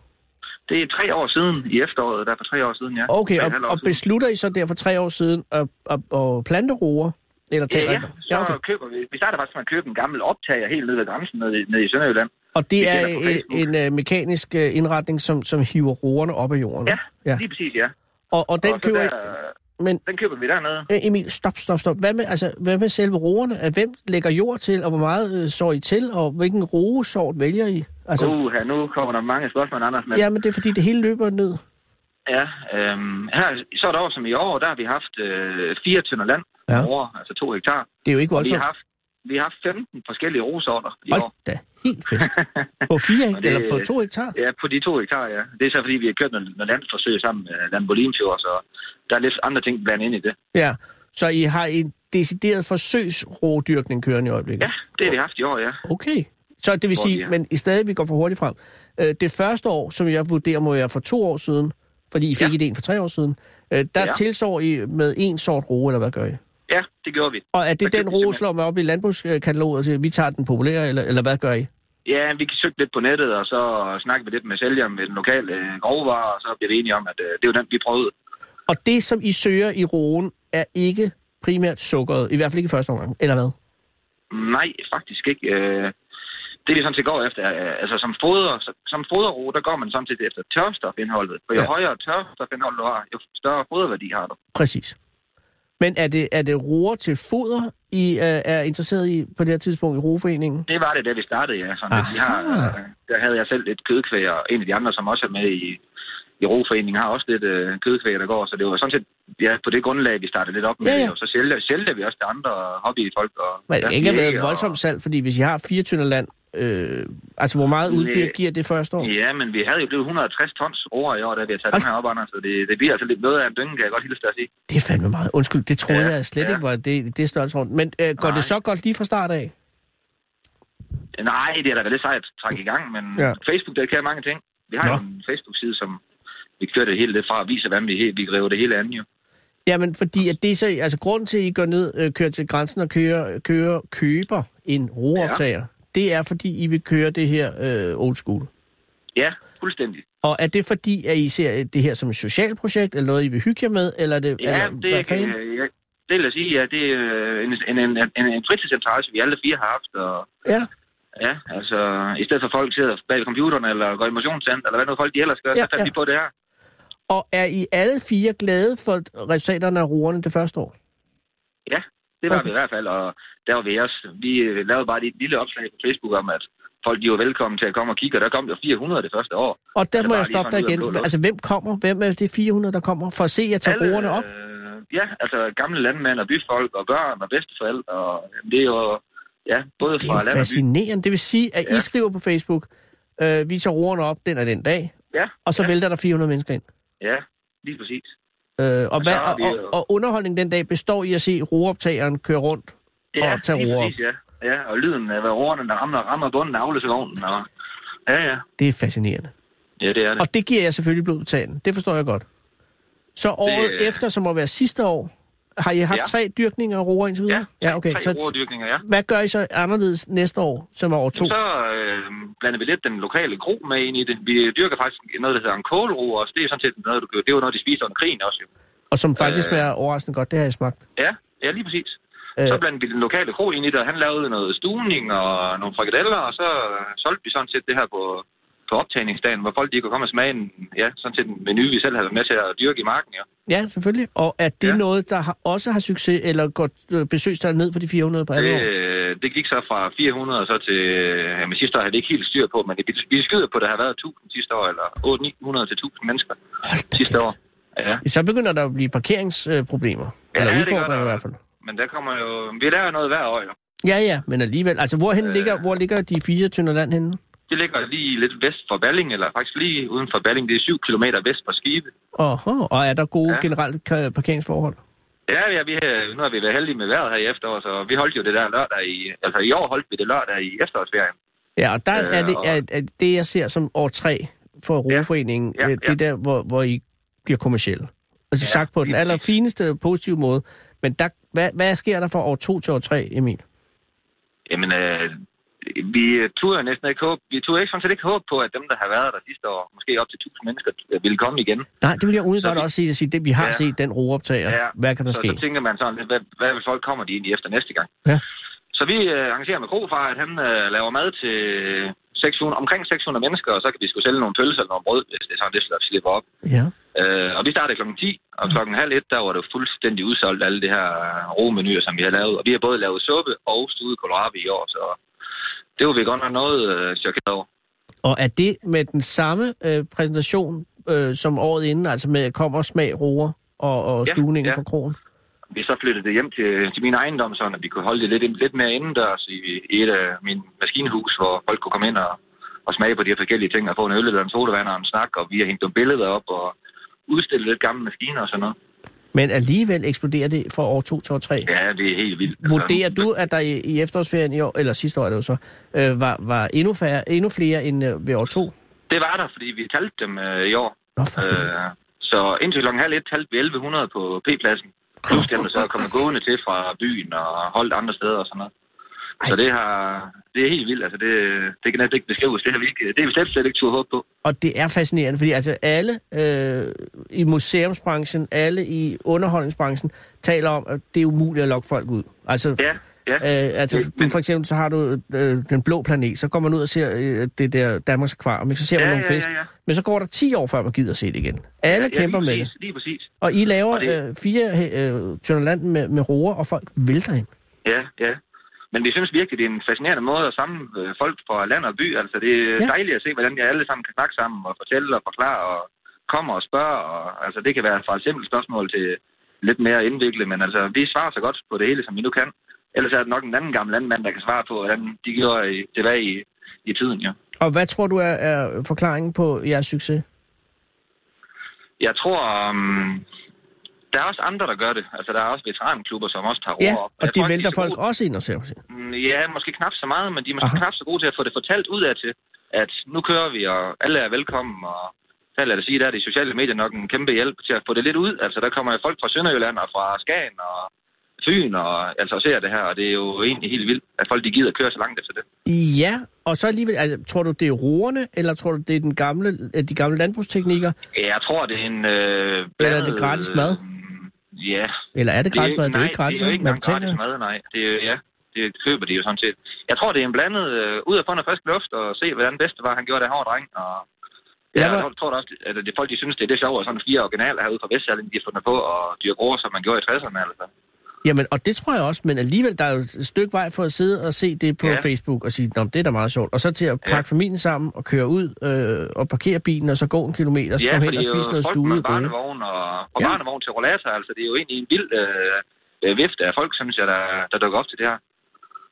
Speaker 6: Det er tre år siden i efteråret, der er for tre år siden, ja.
Speaker 4: Okay,
Speaker 6: Tre
Speaker 4: og,
Speaker 6: et halvt år
Speaker 4: og
Speaker 6: siden.
Speaker 4: beslutter I så der for tre år siden at, at, at plante roer? Eller
Speaker 6: Ja,
Speaker 4: tage
Speaker 6: ja,
Speaker 4: renter?
Speaker 6: så køber vi. Vi starter faktisk med at købe en gammel optager helt nede ved grænsen, nede, i- nede i Sønderjylland.
Speaker 4: Og det
Speaker 6: Vi
Speaker 4: er
Speaker 6: kender på
Speaker 4: en,
Speaker 6: Facebook.
Speaker 4: en øh, mekanisk øh, indretning, som, som hiver roerne op af jorden.
Speaker 6: Ja,
Speaker 4: ja.
Speaker 6: ja. lige præcis, ja.
Speaker 4: Og, og den
Speaker 6: og så
Speaker 4: køber I...
Speaker 6: der,
Speaker 4: Men
Speaker 6: den køber vi dernede.
Speaker 4: Øh, Emil, stop, stop, stop. Hvad med, altså, hvad med selve roerne? At Hvem lægger jord til, og hvor meget øh, sår I til, og hvilken roesort vælger I? Altså,
Speaker 6: Altså, uh, her, nu kommer der mange spørgsmål, Anders. Men,
Speaker 4: ja, men det er fordi, det hele løber ned.
Speaker 6: ja øhm, her, så er der år som i år, der har vi haft øh, fire tønder land
Speaker 4: Ja.
Speaker 6: ja. over, altså to hektar.
Speaker 4: Det er jo ikke
Speaker 6: Og vi
Speaker 4: voldsomt.
Speaker 6: har haft, vi har haft 15 forskellige rosorter i år.
Speaker 4: Hold da, helt fedt. På fire hektar,
Speaker 6: Og det-
Speaker 4: eller på to hektar?
Speaker 6: Ja, på de to hektar, ja. Det er så, fordi vi har kørt noget, noget landforsøg sammen med Landbolinfjord, så der er lidt andre ting blandt ind i det.
Speaker 4: Ja. Så I har en decideret forsøgsrodyrkning kørende i øjeblikket?
Speaker 6: Ja, det har vi haft i år, ja.
Speaker 4: Okay. Så det vil
Speaker 6: Hvor de
Speaker 4: sige,
Speaker 6: er.
Speaker 4: men i stedet vi går for hurtigt frem. Øh, Det første år, som jeg vurderer, må være for to år siden, fordi I fik
Speaker 6: Ja.
Speaker 4: ideen for tre år siden, øh, der
Speaker 6: Ja.
Speaker 4: tilsår I med en sort roe, eller hvad gør I?
Speaker 6: Ja, det gjorde vi.
Speaker 4: Og er det
Speaker 6: Der
Speaker 4: den
Speaker 6: købte vi
Speaker 4: ros, man op i landbrugskataloget og siger, vi tager den populære, eller, eller hvad gør I?
Speaker 6: Ja, vi kan søge lidt på nettet, og så snakke vi lidt med sælgeren med den lokale øh, grovvarer, og så bliver vi enige om, at øh, det er jo den, vi prøvede.
Speaker 4: Og det, som I søger i roen, er ikke primært sukkeret, i hvert fald ikke i første omgang, eller hvad?
Speaker 6: Nej, faktisk ikke. Øh, det, vi sådan set går efter, øh, altså som foder, som foderro, der går man samtidig efter tørstofindholdet. For jo
Speaker 4: Ja.
Speaker 6: ja. højere tørstofindhold du har, jo større foderværdi har du.
Speaker 4: Præcis. Men er det, er det roer til foder, I øh, er interesseret i på det her tidspunkt i roeforeningen?
Speaker 6: Det var det, da vi startede, ja. Sådan, at vi
Speaker 4: Aha.
Speaker 6: har, øh, der havde jeg selv lidt kødkvæg, og en af de andre, som også er med i, i roforeningen, har også lidt øh, kødkvæg, der går. Så det var sådan set ja, på det grundlag, vi startede lidt op med
Speaker 4: Ja,
Speaker 6: ja,
Speaker 4: ja.
Speaker 6: ja. det, og så sælger, sælger vi også til andre hobbyfolk. Og,
Speaker 4: Men det
Speaker 6: ja,
Speaker 4: kan ikke have
Speaker 6: jæger
Speaker 4: været
Speaker 6: og-
Speaker 4: voldsomt salg, fordi hvis I har fire tynder land, øh, altså hvor meget udbyr
Speaker 6: Næh.
Speaker 4: giver det første år?
Speaker 6: Ja, men vi havde jo blevet 160 tons roer i år, da vi har taget
Speaker 4: Og-
Speaker 6: den her op, Anders, så det, det bliver altså lidt noget af en dynge, kan jeg godt hilse dig at sige.
Speaker 4: Det er fandme meget. Undskyld, det troede
Speaker 6: Ja,
Speaker 4: jeg slet
Speaker 6: ja.
Speaker 4: ikke var det, det størrelsesorden. Men øh, går
Speaker 6: Nej.
Speaker 4: det så godt lige fra start af?
Speaker 6: Nej, det er da lidt sejt at trække i gang, men
Speaker 4: Ja.
Speaker 6: ja. Facebook, der kan mange ting. Vi har
Speaker 4: Nå.
Speaker 6: jo en Facebook-side, som vi kører det hele lidt fra og viser, hvordan vi, he- vi griber det hele andet jo.
Speaker 4: Jamen, fordi at det er så, altså grunden til, at I går ned, øh, kører til grænsen og kører, kører, køber en roeoptager, ja. det er, fordi I vil køre det her øh, old school.
Speaker 6: Ja, fuldstændig.
Speaker 4: Og er det fordi, at I ser det her som et socialt projekt, eller noget, I vil hygge jer med, eller er det...
Speaker 6: Ja,
Speaker 4: eller,
Speaker 6: det,
Speaker 4: hvad
Speaker 6: jeg kan,
Speaker 4: fanden?
Speaker 6: jeg, det vil jeg sige, ja, det er øh, en, en, en, en, en fritidsinteresse, vi alle fire har haft, og
Speaker 4: Ja,
Speaker 6: ja, altså, i stedet for at folk sidder bag ved computeren, eller går i motionscenter, eller hvad nu folk de ellers gør,
Speaker 4: Ja,
Speaker 6: ja, så fandt
Speaker 4: ja.
Speaker 6: ja. vi på det her.
Speaker 4: og er I alle fire glade for resultaterne af roerne det første år?
Speaker 6: Ja, det var
Speaker 4: Okay.
Speaker 6: okay. vi i hvert fald, og der var vi også. Vi øh, lavede bare lige et lille opslag på Facebook om, at folk de var velkommen til at komme og kigge, og der kom jo 400 det første år.
Speaker 4: Og der
Speaker 6: Altså,
Speaker 4: må
Speaker 6: bare
Speaker 4: jeg
Speaker 6: lige
Speaker 4: stoppe dig
Speaker 6: sådan ud af
Speaker 4: igen.
Speaker 6: blå luft.
Speaker 4: Altså, hvem kommer? Hvem er de 400, der kommer for at se jer tage roerne op?
Speaker 6: Øh, ja, altså gamle landmænd og byfolk og børn og bedsteforældre, og jamen, det er jo ja, både
Speaker 4: Det
Speaker 6: fra
Speaker 4: er
Speaker 6: land
Speaker 4: jo
Speaker 6: og by.
Speaker 4: fascinerende. Det vil sige, at I
Speaker 6: Ja.
Speaker 4: skriver på Facebook, øh, vi tager roerne op den og den dag,
Speaker 6: Ja,
Speaker 4: og så
Speaker 6: ja,
Speaker 4: vælter der 400 mennesker ind.
Speaker 6: ja, lige præcis.
Speaker 4: Øh, og,
Speaker 6: så
Speaker 4: hvad,
Speaker 6: har
Speaker 4: og,
Speaker 6: vi
Speaker 4: og,
Speaker 6: jo-
Speaker 4: og underholdningen den dag består i at se roeoptageren køre rundt
Speaker 6: Ja,
Speaker 4: og tage
Speaker 6: lige
Speaker 4: roer op.
Speaker 6: præcis, ja. ja, og lyden af hvad roerne, der rammer, rammer bunden af afløsevognen. Og... Ja, ja.
Speaker 4: Det er fascinerende.
Speaker 6: Ja, det er det.
Speaker 4: Og det giver jeg selvfølgelig blod på tanden. Det forstår jeg godt. Så året det,
Speaker 6: øh,
Speaker 4: efter, som må være sidste år, har I haft
Speaker 6: Ja.
Speaker 4: tre dyrkninger af roer indtil videre? ja okay.
Speaker 6: Tre
Speaker 4: Så,
Speaker 6: roerdyrkninger, ja.
Speaker 4: hvad gør I så anderledes næste år, som er år to?
Speaker 6: Så øh, blander vi lidt den lokale gro med ind i det. Vi dyrker faktisk noget, der hedder en kålro, og det er sådan set noget, du gør. Det er jo noget, de spiser under krigen også. Jo.
Speaker 4: Og som faktisk
Speaker 6: øh,
Speaker 4: er overraskende godt, det har jeg smagt.
Speaker 6: Ja, ja, lige præcis.
Speaker 4: Øh.
Speaker 6: Øh. Så blandede vi den lokale gro ind i det, og han lavede noget stuning og nogle frikadeller, og så øh, solgte vi sådan set det her på på optagningsdagen, hvor folk de kunne komme og smage en, ja, sådan set en menu, vi selv havde været med til at dyrke i marken. Jo.
Speaker 4: Ja, selvfølgelig. Og er det ja.
Speaker 6: Ja.
Speaker 4: noget, der har, også har succes, eller går øh, besøgstallet ned for de 400 på alle
Speaker 6: Det,
Speaker 4: år?
Speaker 6: øh, det gik så fra 400 og så til, øh, jamen sidste år havde det ikke helt styr på, men det, vi skyder på, at der har været 1000 sidste år, eller 800-900 til 1000 mennesker
Speaker 4: Hold da
Speaker 6: sidste
Speaker 4: kæft.
Speaker 6: år. Ja.
Speaker 4: Så begynder der at blive parkeringsproblemer.
Speaker 6: Ja,
Speaker 4: eller
Speaker 6: det gør
Speaker 4: udfordringer
Speaker 6: der.
Speaker 4: i hvert fald.
Speaker 6: Men der kommer jo, vi laver noget hver år jo.
Speaker 4: Ja, ja, men alligevel. Altså, hvorhen øh...
Speaker 6: Øh.
Speaker 4: ligger, hvor ligger de fire tynder land henne?
Speaker 6: Det ligger lige lidt vest for Balling, eller faktisk lige uden for Balling. Det er 7 km vest for Skive.
Speaker 4: Oho, og er der gode ja.
Speaker 6: Ja.
Speaker 4: generelt ka- parkeringsforhold?
Speaker 6: Ja, ja vi, har- nu har vi været heldige med vejret her i efteråret, så vi holdt jo det der lørdag i... Altså i år holdt vi det lørdag i efterårsferien.
Speaker 4: Ja, og der
Speaker 6: Øh,
Speaker 4: er, det,
Speaker 6: og-
Speaker 4: er, er det, jeg ser som år tre for Europaforeningen, ja.
Speaker 6: Ja,
Speaker 4: Ja,
Speaker 6: ja,
Speaker 4: det der, hvor, hvor I bliver kommersielle. Altså ja, sagt på den
Speaker 6: lige
Speaker 4: allerfineste positive måde. Men der, hvad, hvad sker der fra år 2 til år 3, Emil?
Speaker 6: Jamen, øh, vi turde næsten ikke håbe, vi turde ikke, sådan set ikke håbe på, at dem, der har været der sidste år, måske op til 1000 mennesker, øh, ville komme igen.
Speaker 4: Nej, det vil jeg umiddelbart
Speaker 6: Så vi-
Speaker 4: også sige, at sige, det, vi har ja.
Speaker 6: Ja.
Speaker 4: set den rooptager. Ja. Hvad kan der
Speaker 6: så,
Speaker 4: ske?
Speaker 6: Så tænker man sådan lidt, hvad, hvad vil folk kommer de egentlig efter næste gang?
Speaker 4: Ja.
Speaker 6: Så vi øh, arrangerer med Krofar, at han øh, laver mad til 600, omkring 600 mennesker, og så kan vi sgu sælge nogle pølser eller nogle brød, hvis det er sådan, det slår- slipper op.
Speaker 4: Ja.
Speaker 6: Øh, og vi startede klokken 10, og klokken halv et, der var det fuldstændig udsolgt, alle det her øh, romenuer, som vi har lavet. Og vi har både lavet suppe og studet kohlrabi i år, så det var vi godt nok noget øh, chokeret over.
Speaker 4: Og er det med den samme øh, præsentation øh, som året inden, altså med kommer smag, roer og, og ja,
Speaker 6: Ja,
Speaker 4: stuvningen ja.
Speaker 6: ja.
Speaker 4: fra krogen?
Speaker 6: Vi så flyttede det hjem til, til min ejendom, sådan at vi kunne holde det lidt, lidt mere indendørs i, i et af min maskinhus, hvor folk kunne komme ind og, og smage på de her forskellige ting, og få en øl eller en sodavand og en snak, og vi har hængt nogle billeder op og udstillet lidt gamle maskiner og sådan noget.
Speaker 4: Men alligevel eksploderer det fra år 2 til år 3. Ja.
Speaker 6: Ja, det er helt vildt. altså.
Speaker 4: Vurderer du, at der i, i efterårsferien i år, eller sidste år er det jo så, øh, var, var endnu, færre, endnu flere end øh, ved år 2?
Speaker 6: Det var der, fordi vi talte dem øh, i år.
Speaker 4: Nå, for øh.
Speaker 6: Øh, så indtil klokken halv et talte vi 1100 på P-pladsen. Plus dem, der så er kommet gående til fra byen og holdt andre steder og sådan noget. Så
Speaker 4: Ej.
Speaker 6: det, har, det er helt vildt. Altså, det, det kan næsten ikke beskrives. Det har vi, ikke, det har vi slet, slet ikke turde håbe på.
Speaker 4: Og det er fascinerende, fordi altså alle øh, i museumsbranchen, alle i underholdningsbranchen, taler om, at det er umuligt at lokke folk ud. Altså,
Speaker 6: Ja, ja.
Speaker 4: Øh, altså,
Speaker 6: Men-
Speaker 4: du, for eksempel, så har du øh, den blå planet, så går man ud og ser øh, det der Danmarks Akvarium, ikke? så ser man
Speaker 6: Ja,
Speaker 4: nogle
Speaker 6: ja,
Speaker 4: fisk,
Speaker 6: ja, ja.
Speaker 4: men så går der 10 år, før man gider se det igen. Alle
Speaker 6: Ja,
Speaker 4: kæmper
Speaker 6: lige
Speaker 4: med det.
Speaker 6: præcis, Lige præcis.
Speaker 4: Og I laver
Speaker 6: Og det-
Speaker 4: øh, fire øh, Tønderland med, med roer, og folk vælter ind.
Speaker 6: Ja, ja. Men vi synes virkelig, det er en fascinerende måde at samle øh, folk fra land og by. Altså, det er
Speaker 4: Ja.
Speaker 6: ja. dejligt at se, hvordan de alle sammen kan snakke sammen og fortælle og forklare og kommer og spørger. Og, altså, det kan være fra et simpelt spørgsmål til lidt mere indviklet, men altså, vi svarer så godt på det hele, som vi nu kan. Ellers er det nok en anden gammel landmand, der kan svare på, hvordan de gjorde i, tilbage i, i tiden, jo.
Speaker 4: Og hvad tror du er, er forklaringen på jeres succes?
Speaker 6: Jeg tror, um, der er også andre, der gør det. Altså, der er også veteranklubber, som også tager
Speaker 4: Ja,
Speaker 6: ord op. Jeg
Speaker 4: og de
Speaker 6: tror ikke,
Speaker 4: vælter
Speaker 6: skal
Speaker 4: folk også ind og ser på det.
Speaker 6: Mm, Ja, måske knap så meget, men de er måske
Speaker 4: Aha.
Speaker 6: Aha. knap så gode til at få det fortalt ud af til, at nu kører vi, og alle er velkommen, og der lader det sige, der er de sociale medier nok en kæmpe hjælp til at få det lidt ud. Altså, der kommer jo folk fra Sønderjylland og fra Skagen og Fyn og altså og ser det her, og det er jo egentlig helt vildt, at folk de gider køre så langt efter det.
Speaker 4: Ja, og så alligevel, altså, tror du, det er roerne, eller tror du, det er den gamle, øh, de gamle landbrugsteknikker,
Speaker 6: Ja, Jeg tror, det er en... Øh,
Speaker 4: Eller er det gratis mad?
Speaker 6: Mm, Ja.
Speaker 4: eller er det gratis mad? Det er jo
Speaker 6: nej,
Speaker 4: ikke gratis,
Speaker 6: det er jo ikke
Speaker 4: man
Speaker 6: engang gratis
Speaker 4: betaler.
Speaker 6: mad, nej. Det er, jo- ja, det køber de jo sådan set. Jeg tror, det er en blandet øh, ud af fundet frisk luft, og se, hvordan bedste var, han gjorde det hårde dreng, og
Speaker 4: Jeg
Speaker 6: Ja,
Speaker 4: var-
Speaker 6: jeg tror da også, at det, folk de synes, det er det sjovt, at sådan fire originaler herude fra Vestjylland, de har fundet på at dyrke roer, som man gjorde i 60'erne. Altså.
Speaker 4: Jamen, og det tror jeg også, men alligevel, der er jo et stykke vej for at sidde og se det på ja.
Speaker 6: Ja.
Speaker 4: Facebook og sige, Nå, men det er da meget sjovt. Og så til at pakke ja.
Speaker 6: Ja.
Speaker 4: familien sammen og køre ud øh, og parkere bilen, og så gå en kilometer, og så ja, komme hen og spise noget
Speaker 6: folk
Speaker 4: stue.
Speaker 6: med barnevogn og, og
Speaker 4: Ja.
Speaker 6: ja. barnevogn til rollator, altså det er jo egentlig en vild øh, øh, vifte af folk, synes jeg, der, der dukker op til det her.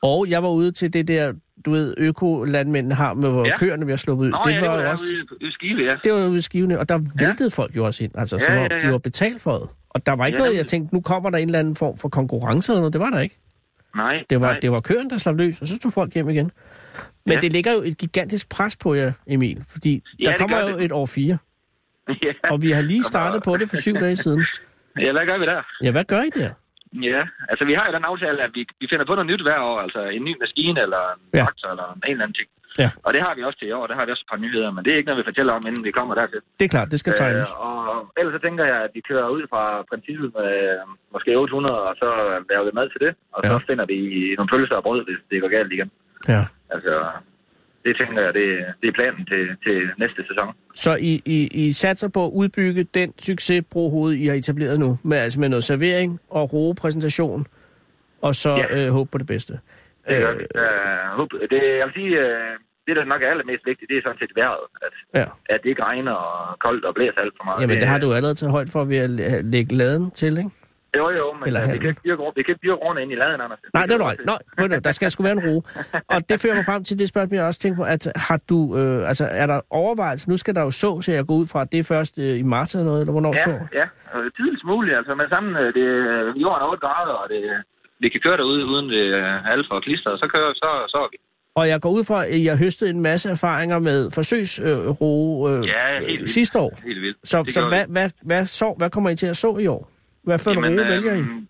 Speaker 4: Og jeg var ude til det der, du ved, økolandmændene har med, hvor ja.
Speaker 6: Ja.
Speaker 4: køerne bliver sluppet ud.
Speaker 6: Nå
Speaker 4: det
Speaker 6: ja, det
Speaker 4: var
Speaker 6: var
Speaker 4: jo
Speaker 6: der
Speaker 4: også,
Speaker 6: ude i- ude i Skive, ja.
Speaker 4: det var ude i skivene, og der væltede ja. folk jo også ind, altså, ja, som
Speaker 6: Ja,
Speaker 4: om
Speaker 6: ja, ja.
Speaker 4: de var betalt for det. Og der var ikke ja,
Speaker 6: Ja,
Speaker 4: noget, jeg
Speaker 6: nemlig.
Speaker 4: tænkte, nu kommer der en eller anden form for konkurrence eller noget. Det var der ikke.
Speaker 6: Nej,
Speaker 4: Det var,
Speaker 6: nej.
Speaker 4: det var køen, der slap løs, og så tog folk hjem igen. Men ja.
Speaker 6: Ja.
Speaker 4: det ligger jo et gigantisk pres på jer, Emil, fordi
Speaker 6: Ja,
Speaker 4: der
Speaker 6: det
Speaker 4: kommer
Speaker 6: gør
Speaker 4: jo
Speaker 6: det.
Speaker 4: et år fire,
Speaker 6: ja.
Speaker 4: og vi har lige
Speaker 6: Kommer-
Speaker 4: startet på det for syv dage siden.
Speaker 6: ja, hvad gør vi der?
Speaker 4: Ja, hvad gør I der?
Speaker 6: Ja, altså vi har jo den aftale, at vi, vi finder på noget nyt hver år, altså en ny maskine eller en
Speaker 4: Ja.
Speaker 6: ja. traktor eller en eller anden ting.
Speaker 4: Ja.
Speaker 6: Og det har vi også til i år, der har vi også et par nyheder, men det er ikke noget, vi fortæller om, inden vi kommer dertil.
Speaker 4: Det er klart, det skal tegnes.
Speaker 6: Øh, og ellers så tænker jeg, at vi kører ud fra princippet med øh, måske 800, og så laver vi mad til det, og ja. så
Speaker 4: Ja.
Speaker 6: finder vi nogle pølser og brød, hvis det går galt igen.
Speaker 4: Ja.
Speaker 6: Altså, det tænker jeg, det, det er planen til, til næste sæson.
Speaker 4: Så I, I, I satser på at udbygge den succes, brohoved, I har etableret nu, med, altså med noget servering og roepræsentation, og så
Speaker 6: Ja.
Speaker 4: ja. øh, håbe på det bedste.
Speaker 6: Det, øh, øh, håb- det, jeg vil sige, øh, det der nok er allermest vigtigt, det er sådan set vejret. At,
Speaker 4: ja.
Speaker 6: at det ikke regner og koldt og blæser alt for meget.
Speaker 4: Jamen, det har du jo allerede taget højt for ved at læ- lægge laden til, ikke?
Speaker 6: Jo, jo,
Speaker 4: Eller
Speaker 6: men Eller vi
Speaker 4: halm.
Speaker 6: kan ikke dyrke, vi kan ikke dyrke rundt ind i laden, Anders.
Speaker 4: Nej, det er du ret. Nå, ved du, der skal sgu være en ro. Og det fører mig frem til det spørgsmål, jeg også tænker på, at har du, øh, altså er der overvejelser? Nu skal der jo så, så jeg går ud fra, at det er først øh, i marts eller noget, eller hvornår
Speaker 6: Ja,
Speaker 4: så?
Speaker 6: ja. Øh, Tidligst muligt, altså med sammen, øh, det, øh, jorden er 8 grader, og det, vi kan køre derude uden det øh, alt for klister, og så kører så, så er vi.
Speaker 4: Og jeg går ud fra, at I har høstet en masse erfaringer med forsøgsro øh,
Speaker 6: Ja, helt
Speaker 4: øh,
Speaker 6: vildt.
Speaker 4: sidste år.
Speaker 6: Helt vildt.
Speaker 4: Så,
Speaker 6: Det
Speaker 4: så
Speaker 6: gør
Speaker 4: hvad,
Speaker 6: vi.
Speaker 4: hvad, hvad, så, hvad kommer I til at så i år? Hvad for en roe vælger
Speaker 6: øhm,
Speaker 4: I?
Speaker 6: øh,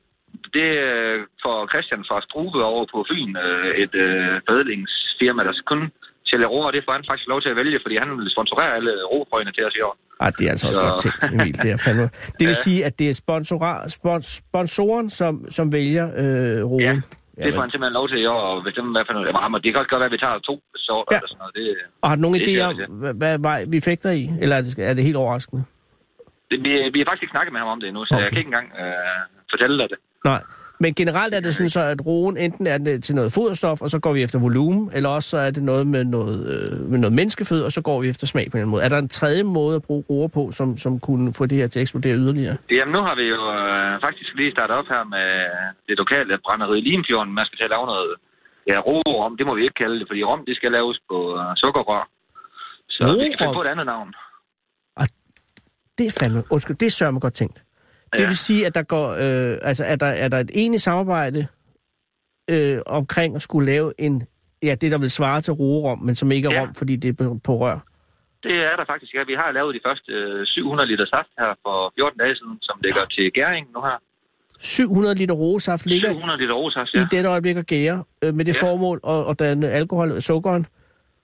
Speaker 6: Det øh, får Christian fra Struve over på Fyn, øh, et øh, badlingsfirma, der kun sælger roer, det får han faktisk lov til at vælge, fordi han vil sponsorere alle roprøjene til os i år.
Speaker 4: Ej, det er altså også
Speaker 6: Så-
Speaker 4: godt tænkt, Emil. Det, er fandme. det vil sige, at det er sponsorer, spons, sponsoren, som, som vælger øh, roen.
Speaker 6: Ja, det
Speaker 4: Jamen.
Speaker 6: får han simpelthen lov til i år, og bestemme, hvad for noget. Jamen, det kan godt gøre, at vi tager to sorter
Speaker 4: Ja.
Speaker 6: ja. eller sådan noget. Det,
Speaker 4: Og har du nogen
Speaker 6: Det
Speaker 4: idé
Speaker 6: gør
Speaker 4: om,
Speaker 6: det.
Speaker 4: hvad, hvad vej vi fægter i? Eller er det, er det helt overraskende?
Speaker 6: det vi, vi har faktisk ikke snakket med ham om det endnu, så
Speaker 4: Okay.
Speaker 6: okay. jeg kan ikke engang øh, fortælle dig det.
Speaker 4: Nej. Men generelt er det sådan så, at roen enten er det til noget foderstof, og så går vi efter volumen, eller også så er det noget med noget, øh, med noget menneskefød, og så går vi efter smag på en eller anden måde. Er der en tredje måde at bruge roer på, som, som kunne få det her til at eksplodere yderligere?
Speaker 6: Jamen, nu har vi jo øh, faktisk lige startet op her med det lokale brænderi i Limfjorden. Man skal til at lave noget ja, rom. Det må vi ikke kalde det, fordi rom, det skal laves på øh, sukkerrør. Så vi skal
Speaker 4: Rorom?
Speaker 6: finde på et andet navn.
Speaker 4: Det er fandme, undskyld, det er sørme godt tænkt. Ja. Det
Speaker 6: Ja.
Speaker 4: vil sige, at der går, øh, altså, er, der, er der et enigt samarbejde øh, omkring at skulle lave en, ja, det der vil svare til roerom, men som ikke er
Speaker 6: Ja.
Speaker 4: rom, fordi det er på, på rør.
Speaker 6: Det er der faktisk. Ja, vi har lavet de første øh, 700 liter saft her for 14 dage siden, som ligger til gæring nu her.
Speaker 4: 700 liter roesaft ligger
Speaker 6: 700 liter rosaft,
Speaker 4: ja.
Speaker 6: ja.
Speaker 4: i dette øjeblik at gære øh, med det ja.
Speaker 6: Ja.
Speaker 4: formål at, at danne alkohol og sukkeren,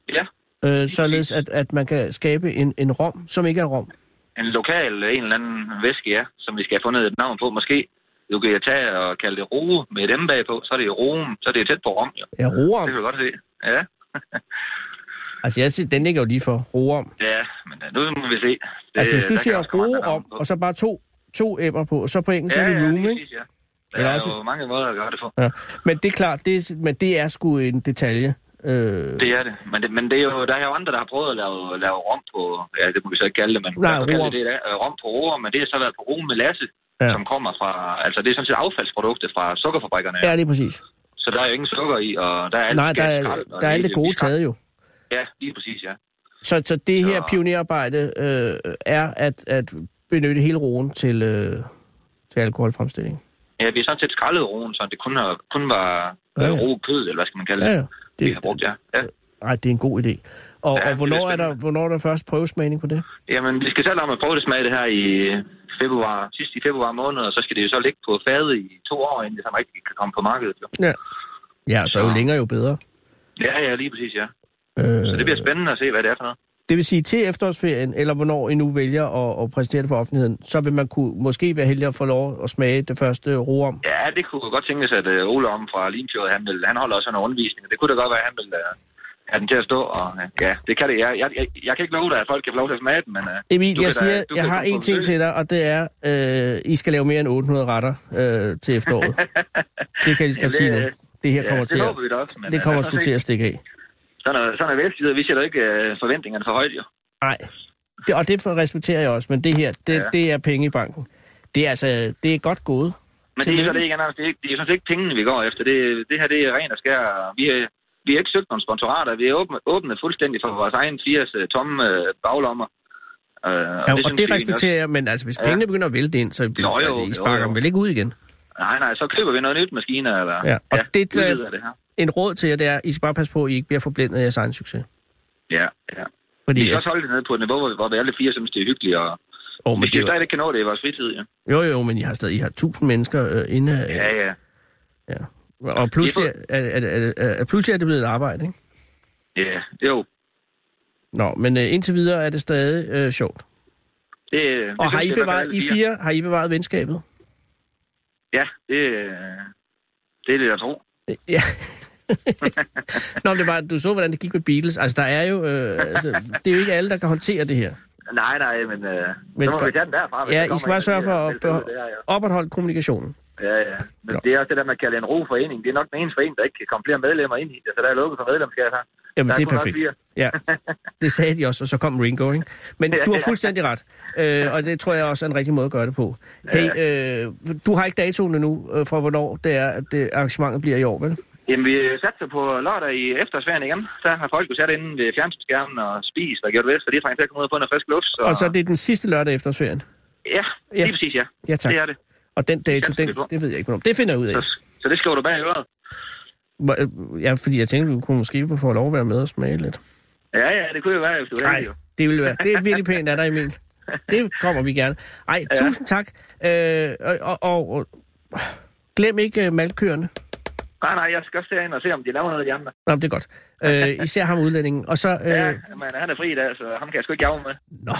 Speaker 6: ja.
Speaker 4: øh, således at, at man kan skabe en, en rom, som ikke er rom.
Speaker 6: en lokal, en eller anden væske, ja, som vi skal have fundet et navn på, måske. Du kan tage og kalde det roe med et M bagpå, så er det Rom, så er det tæt på Rom, jo.
Speaker 4: Ja,
Speaker 6: Det
Speaker 4: roerom.
Speaker 6: kan du godt se. Ja,
Speaker 4: Altså, jeg siger, den ligger jo lige for roerom.
Speaker 6: ja, men øh, nu må vi se. Det,
Speaker 4: Altså, hvis du
Speaker 6: der kan
Speaker 4: siger
Speaker 6: også komme andre
Speaker 4: roerom,
Speaker 6: navne på.
Speaker 4: og så bare to, to æbber på, så på engelsk ja, er det room,
Speaker 6: lige
Speaker 4: ikke?
Speaker 6: præcis, Ja. Der
Speaker 4: Eller
Speaker 6: er
Speaker 4: også-
Speaker 6: jo mange måder at gøre det på.
Speaker 4: Ja. Men det er klart, det er, men det er sgu en detalje. Øh,
Speaker 6: Det er det. Men, det, men det er jo, der er jo andre, der har prøvet at lave, lave rom på... Ja, det må vi så ikke kalde det, men...
Speaker 4: Nej,
Speaker 6: lad os kalde
Speaker 4: roer.
Speaker 6: det, det er, rom på roer, men det har så været på rom med Lasse,
Speaker 4: Ja.
Speaker 6: ja. som kommer fra... Altså, det er sådan set affaldsprodukter fra sukkerfabrikkerne.
Speaker 4: ja, det er præcis.
Speaker 6: Så der er jo ingen sukker i, og der er alt
Speaker 4: Nej, der er,
Speaker 6: skrald, og
Speaker 4: der er alt
Speaker 6: hele
Speaker 4: det gode
Speaker 6: skrald.
Speaker 4: taget jo.
Speaker 6: Ja, lige præcis, ja.
Speaker 4: Så, så det her
Speaker 6: Ja.
Speaker 4: pionerarbejde øh, er at, at benytte hele roen til, øh, til alkoholfremstilling.
Speaker 6: Ja, vi har sådan set skrællet roen, så det kun, har, kun var
Speaker 4: Ja,
Speaker 6: ja,
Speaker 4: ja.
Speaker 6: ja. ro kød, eller hvad skal man kalde
Speaker 4: Ja,
Speaker 6: det,
Speaker 4: ja.
Speaker 6: det vi har
Speaker 4: Det,
Speaker 6: brugt, ja. ja.
Speaker 4: ej, det er en god idé. Og,
Speaker 6: Ja,
Speaker 4: ja, og
Speaker 6: det
Speaker 4: hvornår,
Speaker 6: bliver
Speaker 4: er der,
Speaker 6: spændende.
Speaker 4: hvornår er der først prøvesmagning på det?
Speaker 6: Jamen, vi skal selv om at prøve det smage det her i februar, sidst i februar måned, og så skal det jo så ligge på fade i to år, inden det så rigtig kan komme på markedet. Jo.
Speaker 4: Ja, så jo
Speaker 6: Så-
Speaker 4: længere, jo bedre.
Speaker 6: Ja, ja, lige præcis, ja. Så
Speaker 4: Øh,
Speaker 6: det bliver spændende at se, hvad det er for noget.
Speaker 4: det vil sige, til efterårsferien, eller hvornår I nu vælger at, at præsentere det for offentligheden, så vil man kunne, måske være heldig at få lov at smage det første room.
Speaker 6: Ja, det kunne godt tænkes, at øh, Ole om fra Limfjord, han, vil, han holder også en undervisning. Det kunne da godt være, at han vil øh, have den til at stå, og øh, ja, det kan det. Jeg, jeg, jeg, jeg kan ikke love dig, at folk kan få lov til at smage den, men... øh,
Speaker 4: Emil,
Speaker 6: du
Speaker 4: jeg
Speaker 6: kan da-
Speaker 4: siger,
Speaker 6: du
Speaker 4: jeg
Speaker 6: kan
Speaker 4: har
Speaker 6: komme
Speaker 4: en
Speaker 6: på
Speaker 4: ting
Speaker 6: besøg.
Speaker 4: til dig, og det er, øh, I skal lave mere end 800 retter øh, til efteråret. det kan jeg lige så godt sige
Speaker 6: Jamen,
Speaker 4: nu.
Speaker 6: det-
Speaker 4: Det her
Speaker 6: ja,
Speaker 4: kommer
Speaker 6: det
Speaker 4: til at,
Speaker 6: håber vi da også, men,
Speaker 4: det
Speaker 6: øh,
Speaker 4: kommer
Speaker 6: lad os
Speaker 4: sgu
Speaker 6: se.
Speaker 4: til at stikke af.
Speaker 6: Sådan er, sådan er velskider. Vi sætter ikke øh, forventningerne for højt, jo.
Speaker 4: Nej, det, og det for- respekterer jeg også, men det her, det, ja.
Speaker 6: Ja.
Speaker 4: det er penge i banken. Det er altså, det er godt gået.
Speaker 6: Men det er
Speaker 4: Tillykke.
Speaker 6: så det ikke, Anders. Det er, ikke- det er sådan set ikke pengene, vi går efter. Det, det her, det er ren og skær. Vi, øh, vi har ikke søgt nogen sponsorater. Vi er åbne, åbne fuldstændig for vores egen firs øh, tomme øh, baglommer. Øh,
Speaker 4: Ja, og
Speaker 6: synes
Speaker 4: det
Speaker 6: vi
Speaker 4: respekterer jeg, men altså, hvis
Speaker 6: Ja.
Speaker 4: pengene begynder at vælte ind, så det,
Speaker 6: Nå, jo,
Speaker 4: altså, I
Speaker 6: jo,
Speaker 4: sparker
Speaker 6: jo.
Speaker 4: dem vel ikke ud igen.
Speaker 6: Nok, nej, nej, så køber vi noget nyt maskiner. Eller,
Speaker 4: Ja, og det,
Speaker 6: vi
Speaker 4: øh,
Speaker 6: ved, hvad det her.
Speaker 4: En råd til jer, det er, I skal bare passe på, at I ikke bliver forblændet af jeres egen succes.
Speaker 6: Ja, ja. Vi
Speaker 4: Fordi,
Speaker 6: skal
Speaker 4: at,
Speaker 6: også holde det nede på et niveau, hvor, hvor vi alle fire synes, det er hyggeligt. Og,
Speaker 4: oh,
Speaker 6: vi
Speaker 4: men det,
Speaker 6: skal
Speaker 4: er
Speaker 6: jo
Speaker 4: jo-
Speaker 6: stadig ikke kan nå det i vores fritid, ja.
Speaker 4: jo, jo, men I har stadig I har tusind mennesker øh, inde. øh,
Speaker 6: Ja, ja.
Speaker 4: Og pludselig er, er, er, er, er, pludselig er det blevet et arbejde, ikke?
Speaker 6: Ja, jo.
Speaker 4: Nå, men øh, indtil videre er det stadig øh, sjovt.
Speaker 6: Det, det
Speaker 4: Og har
Speaker 6: synes
Speaker 4: I
Speaker 6: jeg hvert fald,
Speaker 4: bevaret,
Speaker 6: alle
Speaker 4: I fire, har I bevaret venskabet?
Speaker 6: Ja, det, øh, det er det, jeg tror.
Speaker 4: Ja. Nå, men det var, du så, hvordan det gik med Beatles. Altså, der er jo, øh, altså, det er jo ikke alle, der kan håndtere det her.
Speaker 6: Nej, nej, men, øh, men
Speaker 4: Men
Speaker 6: så må vi
Speaker 4: på-
Speaker 6: tage den derfra. hvis
Speaker 4: Ja,
Speaker 6: der
Speaker 4: I skal
Speaker 6: kommer
Speaker 4: bare
Speaker 6: en, der
Speaker 4: sørge for
Speaker 6: siger,
Speaker 4: at
Speaker 6: "Velkommen til det her, ja."
Speaker 4: beho- opretholde kommunikationen.
Speaker 6: Ja, ja. Men
Speaker 4: Nå.
Speaker 6: det er også det der, man kalder en roforening. Det er nok den eneste forening, der ikke kan komme flere medlemmer ind i det, så der er lukket for medlemskab her.
Speaker 4: Jamen,
Speaker 6: Der
Speaker 4: det er
Speaker 6: kun nok
Speaker 4: perfekt.
Speaker 6: fire.
Speaker 4: Ja, det sagde de også, og så kom Ringo, ikke? Men du har fuldstændig ret, øh, og det tror jeg også er en rigtig måde at gøre det på. Hey, øh, du har ikke datoen endnu øh, for, hvornår det er, at det arrangementet bliver i år, vel?
Speaker 6: Jamen, vi øh, satte på lørdag i efterårsferien igen. Så har folk jo sat inde ved fjernsynsskærmen og spist og gjort det, så de trænger til at komme ud og få noget frisk luft. Så...
Speaker 4: Og så er det den sidste lørdag efter ferien.
Speaker 6: Ja,
Speaker 4: Ja.
Speaker 6: lige præcis, ja.
Speaker 4: Ja, tak.
Speaker 6: Det er det.
Speaker 4: Og den dato, den,
Speaker 6: Fjernsynsfestival.
Speaker 4: det ved jeg ikke, hvornår. Det finder jeg ud af.
Speaker 6: Så, så det skriver du bag i øret.
Speaker 4: Hvor- øh, Ja, fordi jeg tænkte, du kunne måske få lov at være med og smage lidt.
Speaker 6: Ja, ja, det kunne jo være, hvis du var
Speaker 4: Nej,
Speaker 6: heldig, jo.
Speaker 4: det ville være. Det er virkelig pænt af dig, Emil. Det kommer vi gerne. Ej, ja. tusind tak. Øh, og, og, og, og, glem ikke øh, malkøerne.
Speaker 6: Nej, nej, jeg skal også derind og se, om de laver noget af de andre.
Speaker 4: Nå, men det er godt. Øh, især ham udlændingen. Og så, øh,
Speaker 6: Ja,
Speaker 4: ja.
Speaker 6: men han er fri i dag, så ham kan jeg sgu ikke jage med.
Speaker 4: nå,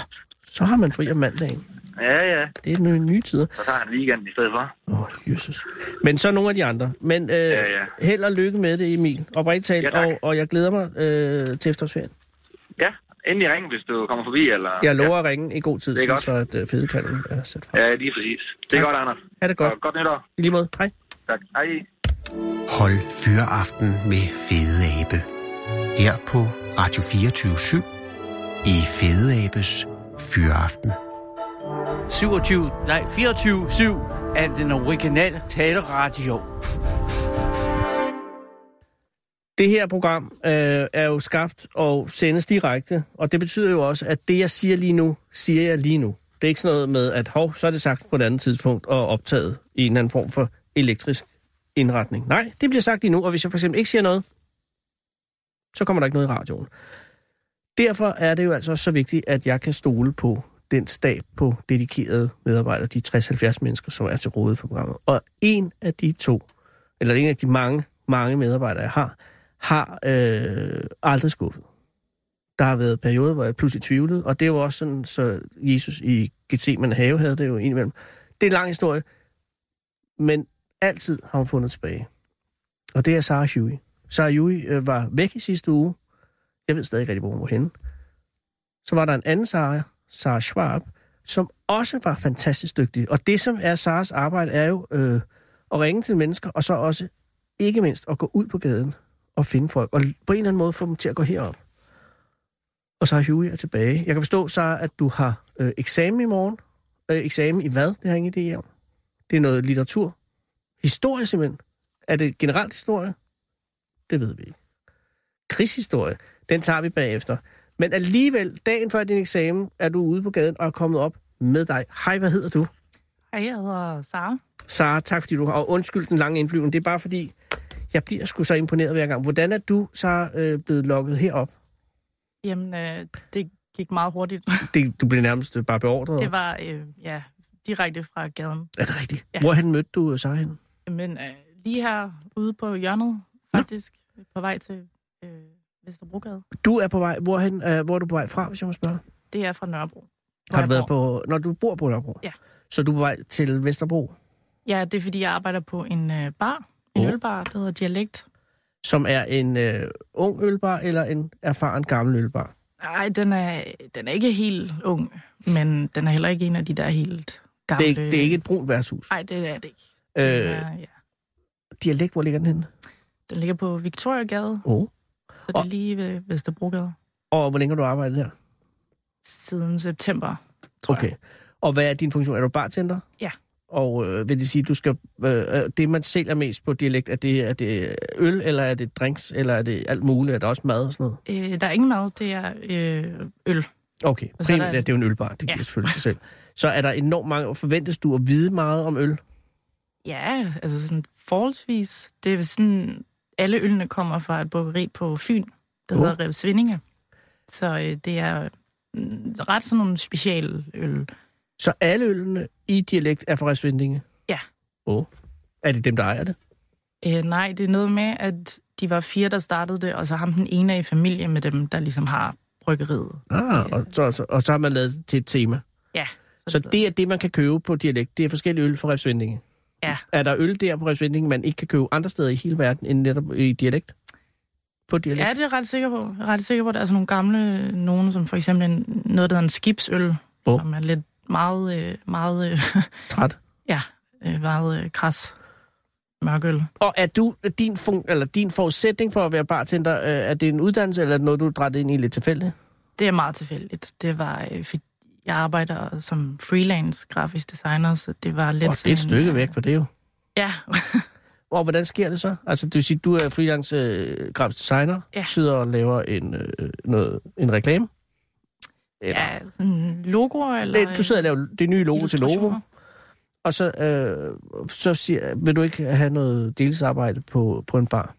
Speaker 4: så har man fri om mandagen.
Speaker 6: Ja, ja,
Speaker 4: Det er den nye tider.
Speaker 6: så tager han weekenden i stedet for.
Speaker 4: Åh, oh, Jesus. Men så nogle af de andre. Men øh, ja, ja.
Speaker 6: ja.
Speaker 4: held og lykke med det, Emil. Oprigtigt talt,
Speaker 6: Ja, tak.
Speaker 4: og, og jeg glæder mig øh, til efterårsferien.
Speaker 6: Ja, endelig ring, hvis du kommer forbi, eller...
Speaker 4: Jeg lover ja. at ringe i god tid,
Speaker 6: Det er
Speaker 4: sådan så at øh, fedekalden er sat fra. Ja.
Speaker 6: Ja, lige præcis. Det
Speaker 4: Tak.
Speaker 6: er godt, Anders.
Speaker 4: Ha' det godt.
Speaker 6: Og godt nytår.
Speaker 4: I lige måde. Hej.
Speaker 6: Tak. Hej.
Speaker 2: Hold Fyraften med Fede Abe. Her på Radio 24 i Fede Abes Fyraften.
Speaker 7: 27, nej, 24-7 af den originale taleradio.
Speaker 4: Det her program øh, er jo skabt og sendes direkte, og det betyder jo også, at det, jeg siger lige nu, siger jeg lige nu. Det er ikke sådan noget med, at hov, så er det sagt på et andet tidspunkt og optaget i en eller anden form for elektrisk indretning. Nej, det bliver sagt lige nu, og hvis jeg for eksempel ikke siger noget, så kommer der ikke noget i radioen. Derfor er det jo altså også så vigtigt, at jeg kan stole på den stab på dedikerede medarbejdere, de 60-70 mennesker, som er til rådighed for programmet. Og en af de to, eller en af de mange, mange medarbejdere, jeg har, har øh, aldrig skuffet. Der har været perioder, hvor jeg pludselig tvivlede, og det var også sådan, så Jesus i Gethsemane have havde det jo indimellem. Det er en lang historie, men altid har hun fundet tilbage. Og det er Sarah Huey. Sarah Huey øh, var væk i sidste uge. Jeg ved stadig ikke rigtig, hvor hun var henne. Så var der en anden Sarah, Sarah Schwab, som også var fantastisk dygtig. Og det, som er Sarahs arbejde, er jo øh, at ringe til mennesker, og så også ikke mindst at gå ud på gaden og finde folk, og på en eller anden måde få dem til at gå herop. Og så er Huey er tilbage. Jeg kan forstå, så at du har øh, eksamen i morgen. Øh, eksamen i hvad? Det har jeg ingen idé om. Det er noget litteratur. Historie simpelthen. Er det generelt historie? Det ved vi ikke. Krigshistorie, den tager vi bagefter. Men alligevel, dagen før din eksamen, er du ude på gaden og er kommet op med dig. Hej, hvad hedder du?
Speaker 8: Hej, jeg hedder Sara.
Speaker 4: Sara, tak fordi du har... Og undskyld den lange indflyvning. Det er bare fordi, jeg bliver sgu så imponeret hver gang. Hvordan er du, så øh, blevet lukket herop?
Speaker 8: Jamen, øh, det gik meget hurtigt.
Speaker 4: Det, du blev nærmest øh, bare beordret.
Speaker 8: Det var øh, ja, direkte fra gaden.
Speaker 4: Er det rigtigt? Ja.
Speaker 8: Ja.
Speaker 4: Hvorhen mødte du øh, Sara henne?
Speaker 8: Men øh, lige her ude på hjørnet, faktisk, på vej til øh, Vesterbrogade.
Speaker 4: Du er på vej... Hvorhen, øh, hvor er du på vej fra, hvis jeg må spørge?
Speaker 8: Det er fra Nørrebro. hvor
Speaker 4: Har
Speaker 8: jeg
Speaker 4: du været
Speaker 8: bor.
Speaker 4: på... Når du bor på Nørrebro?
Speaker 8: Ja.
Speaker 4: Så du er på vej til Vesterbro,
Speaker 8: Ja, det er fordi, jeg arbejder på en øh, bar. En
Speaker 4: Åh.
Speaker 8: ølbar, der hedder Dialekt.
Speaker 4: som er en øh, ung ølbar eller en erfaren gammel ølbar?
Speaker 8: Nej, den er, den er ikke helt ung, men den er heller ikke en af de der helt gamle...
Speaker 4: Det er, ikke, det er ikke et brunt værtshus.
Speaker 8: Nej, det er det ikke. Den,
Speaker 4: Øh,
Speaker 8: er, ja.
Speaker 4: dialekt, hvor ligger den henne?
Speaker 8: den ligger på Victoriagade,
Speaker 4: Oh.
Speaker 8: så det
Speaker 4: og-
Speaker 8: er lige ved Vesterbrogade.
Speaker 4: Og hvor længe har du arbejdet der?
Speaker 8: Siden september. tror jeg.
Speaker 4: Okay. Og hvad er din funktion? Er du bartender?
Speaker 8: Ja.
Speaker 4: Og øh, vil det sige, at du skal, øh, øh, det, man sælger mest på dialekt, er det, er det øl, eller er det drinks, eller er det alt muligt? Er der også mad og sådan noget?
Speaker 8: Øh, der er ingen mad, det er øh, øl.
Speaker 4: Okay,
Speaker 8: Og så er
Speaker 4: primært
Speaker 8: der-
Speaker 4: er det jo en ølbar, det
Speaker 8: Ja.
Speaker 4: giver selvfølgelig sig selv. Så er der enormt mange, og forventes du at vide meget om øl?
Speaker 8: Ja, altså sådan forholdsvis. Det er sådan, alle ølene kommer fra et bryggeri på Fyn, der
Speaker 4: Åh.
Speaker 8: oh. hedder Rev Svindinge. Så øh, det er mm, ret sådan nogle specialøl.
Speaker 4: Så alle ølene i dialekt er fra Svindinge?
Speaker 8: Ja.
Speaker 4: Oh. Er det dem, der ejer det?
Speaker 8: Øh, nej, det er noget med, at de var fire, der startede det, og så ham den ene er i familie med dem, der ligesom har bryggeriet.
Speaker 4: Ah, og så, så, og så har man lavet det til et tema.
Speaker 8: Ja.
Speaker 4: Så det er det, man kan købe på dialekt. Det er forskellige øl fra Svindinge.
Speaker 8: Ja.
Speaker 4: Er der øl der på restauranten, man ikke kan købe andre steder i hele verden end netop i dialekt? På dialekt?
Speaker 8: Ja, det er jeg ret sikker på. Jeg er ret sikker på, at der er sådan nogle gamle nogen, som for eksempel en- noget, der hedder en skibsøl,
Speaker 4: Åh.
Speaker 8: oh. som er lidt meget, øh, meget, øh,
Speaker 4: Træt.
Speaker 8: øh, meget øh, kras mørkøl.
Speaker 4: Og er du, din, fun, eller din forudsætning for at være bartender, øh, er det en uddannelse, eller er det noget, du er drættet ind i lidt tilfældigt?
Speaker 8: Det er meget tilfældigt. Det var, øh, fordi jeg arbejder som freelance grafisk designer, så det var lidt...
Speaker 4: Åh, det er et
Speaker 8: sådan,
Speaker 4: stykke
Speaker 8: øh,
Speaker 4: væk for det jo.
Speaker 8: Ja,
Speaker 4: Og hvordan sker det så? Altså, det vil sige, du er freelance øh, grafisk designer,
Speaker 8: Ja.
Speaker 4: sidder og laver en, øh, noget, en reklame. Eller,
Speaker 8: ja sådan logoer eller... øh,
Speaker 4: ja. Du sidder og laver det nye logo til Novo,
Speaker 8: illustrationer.
Speaker 4: og så, øh, så siger, vil du ikke have noget deltidsarbejde på, på en bar?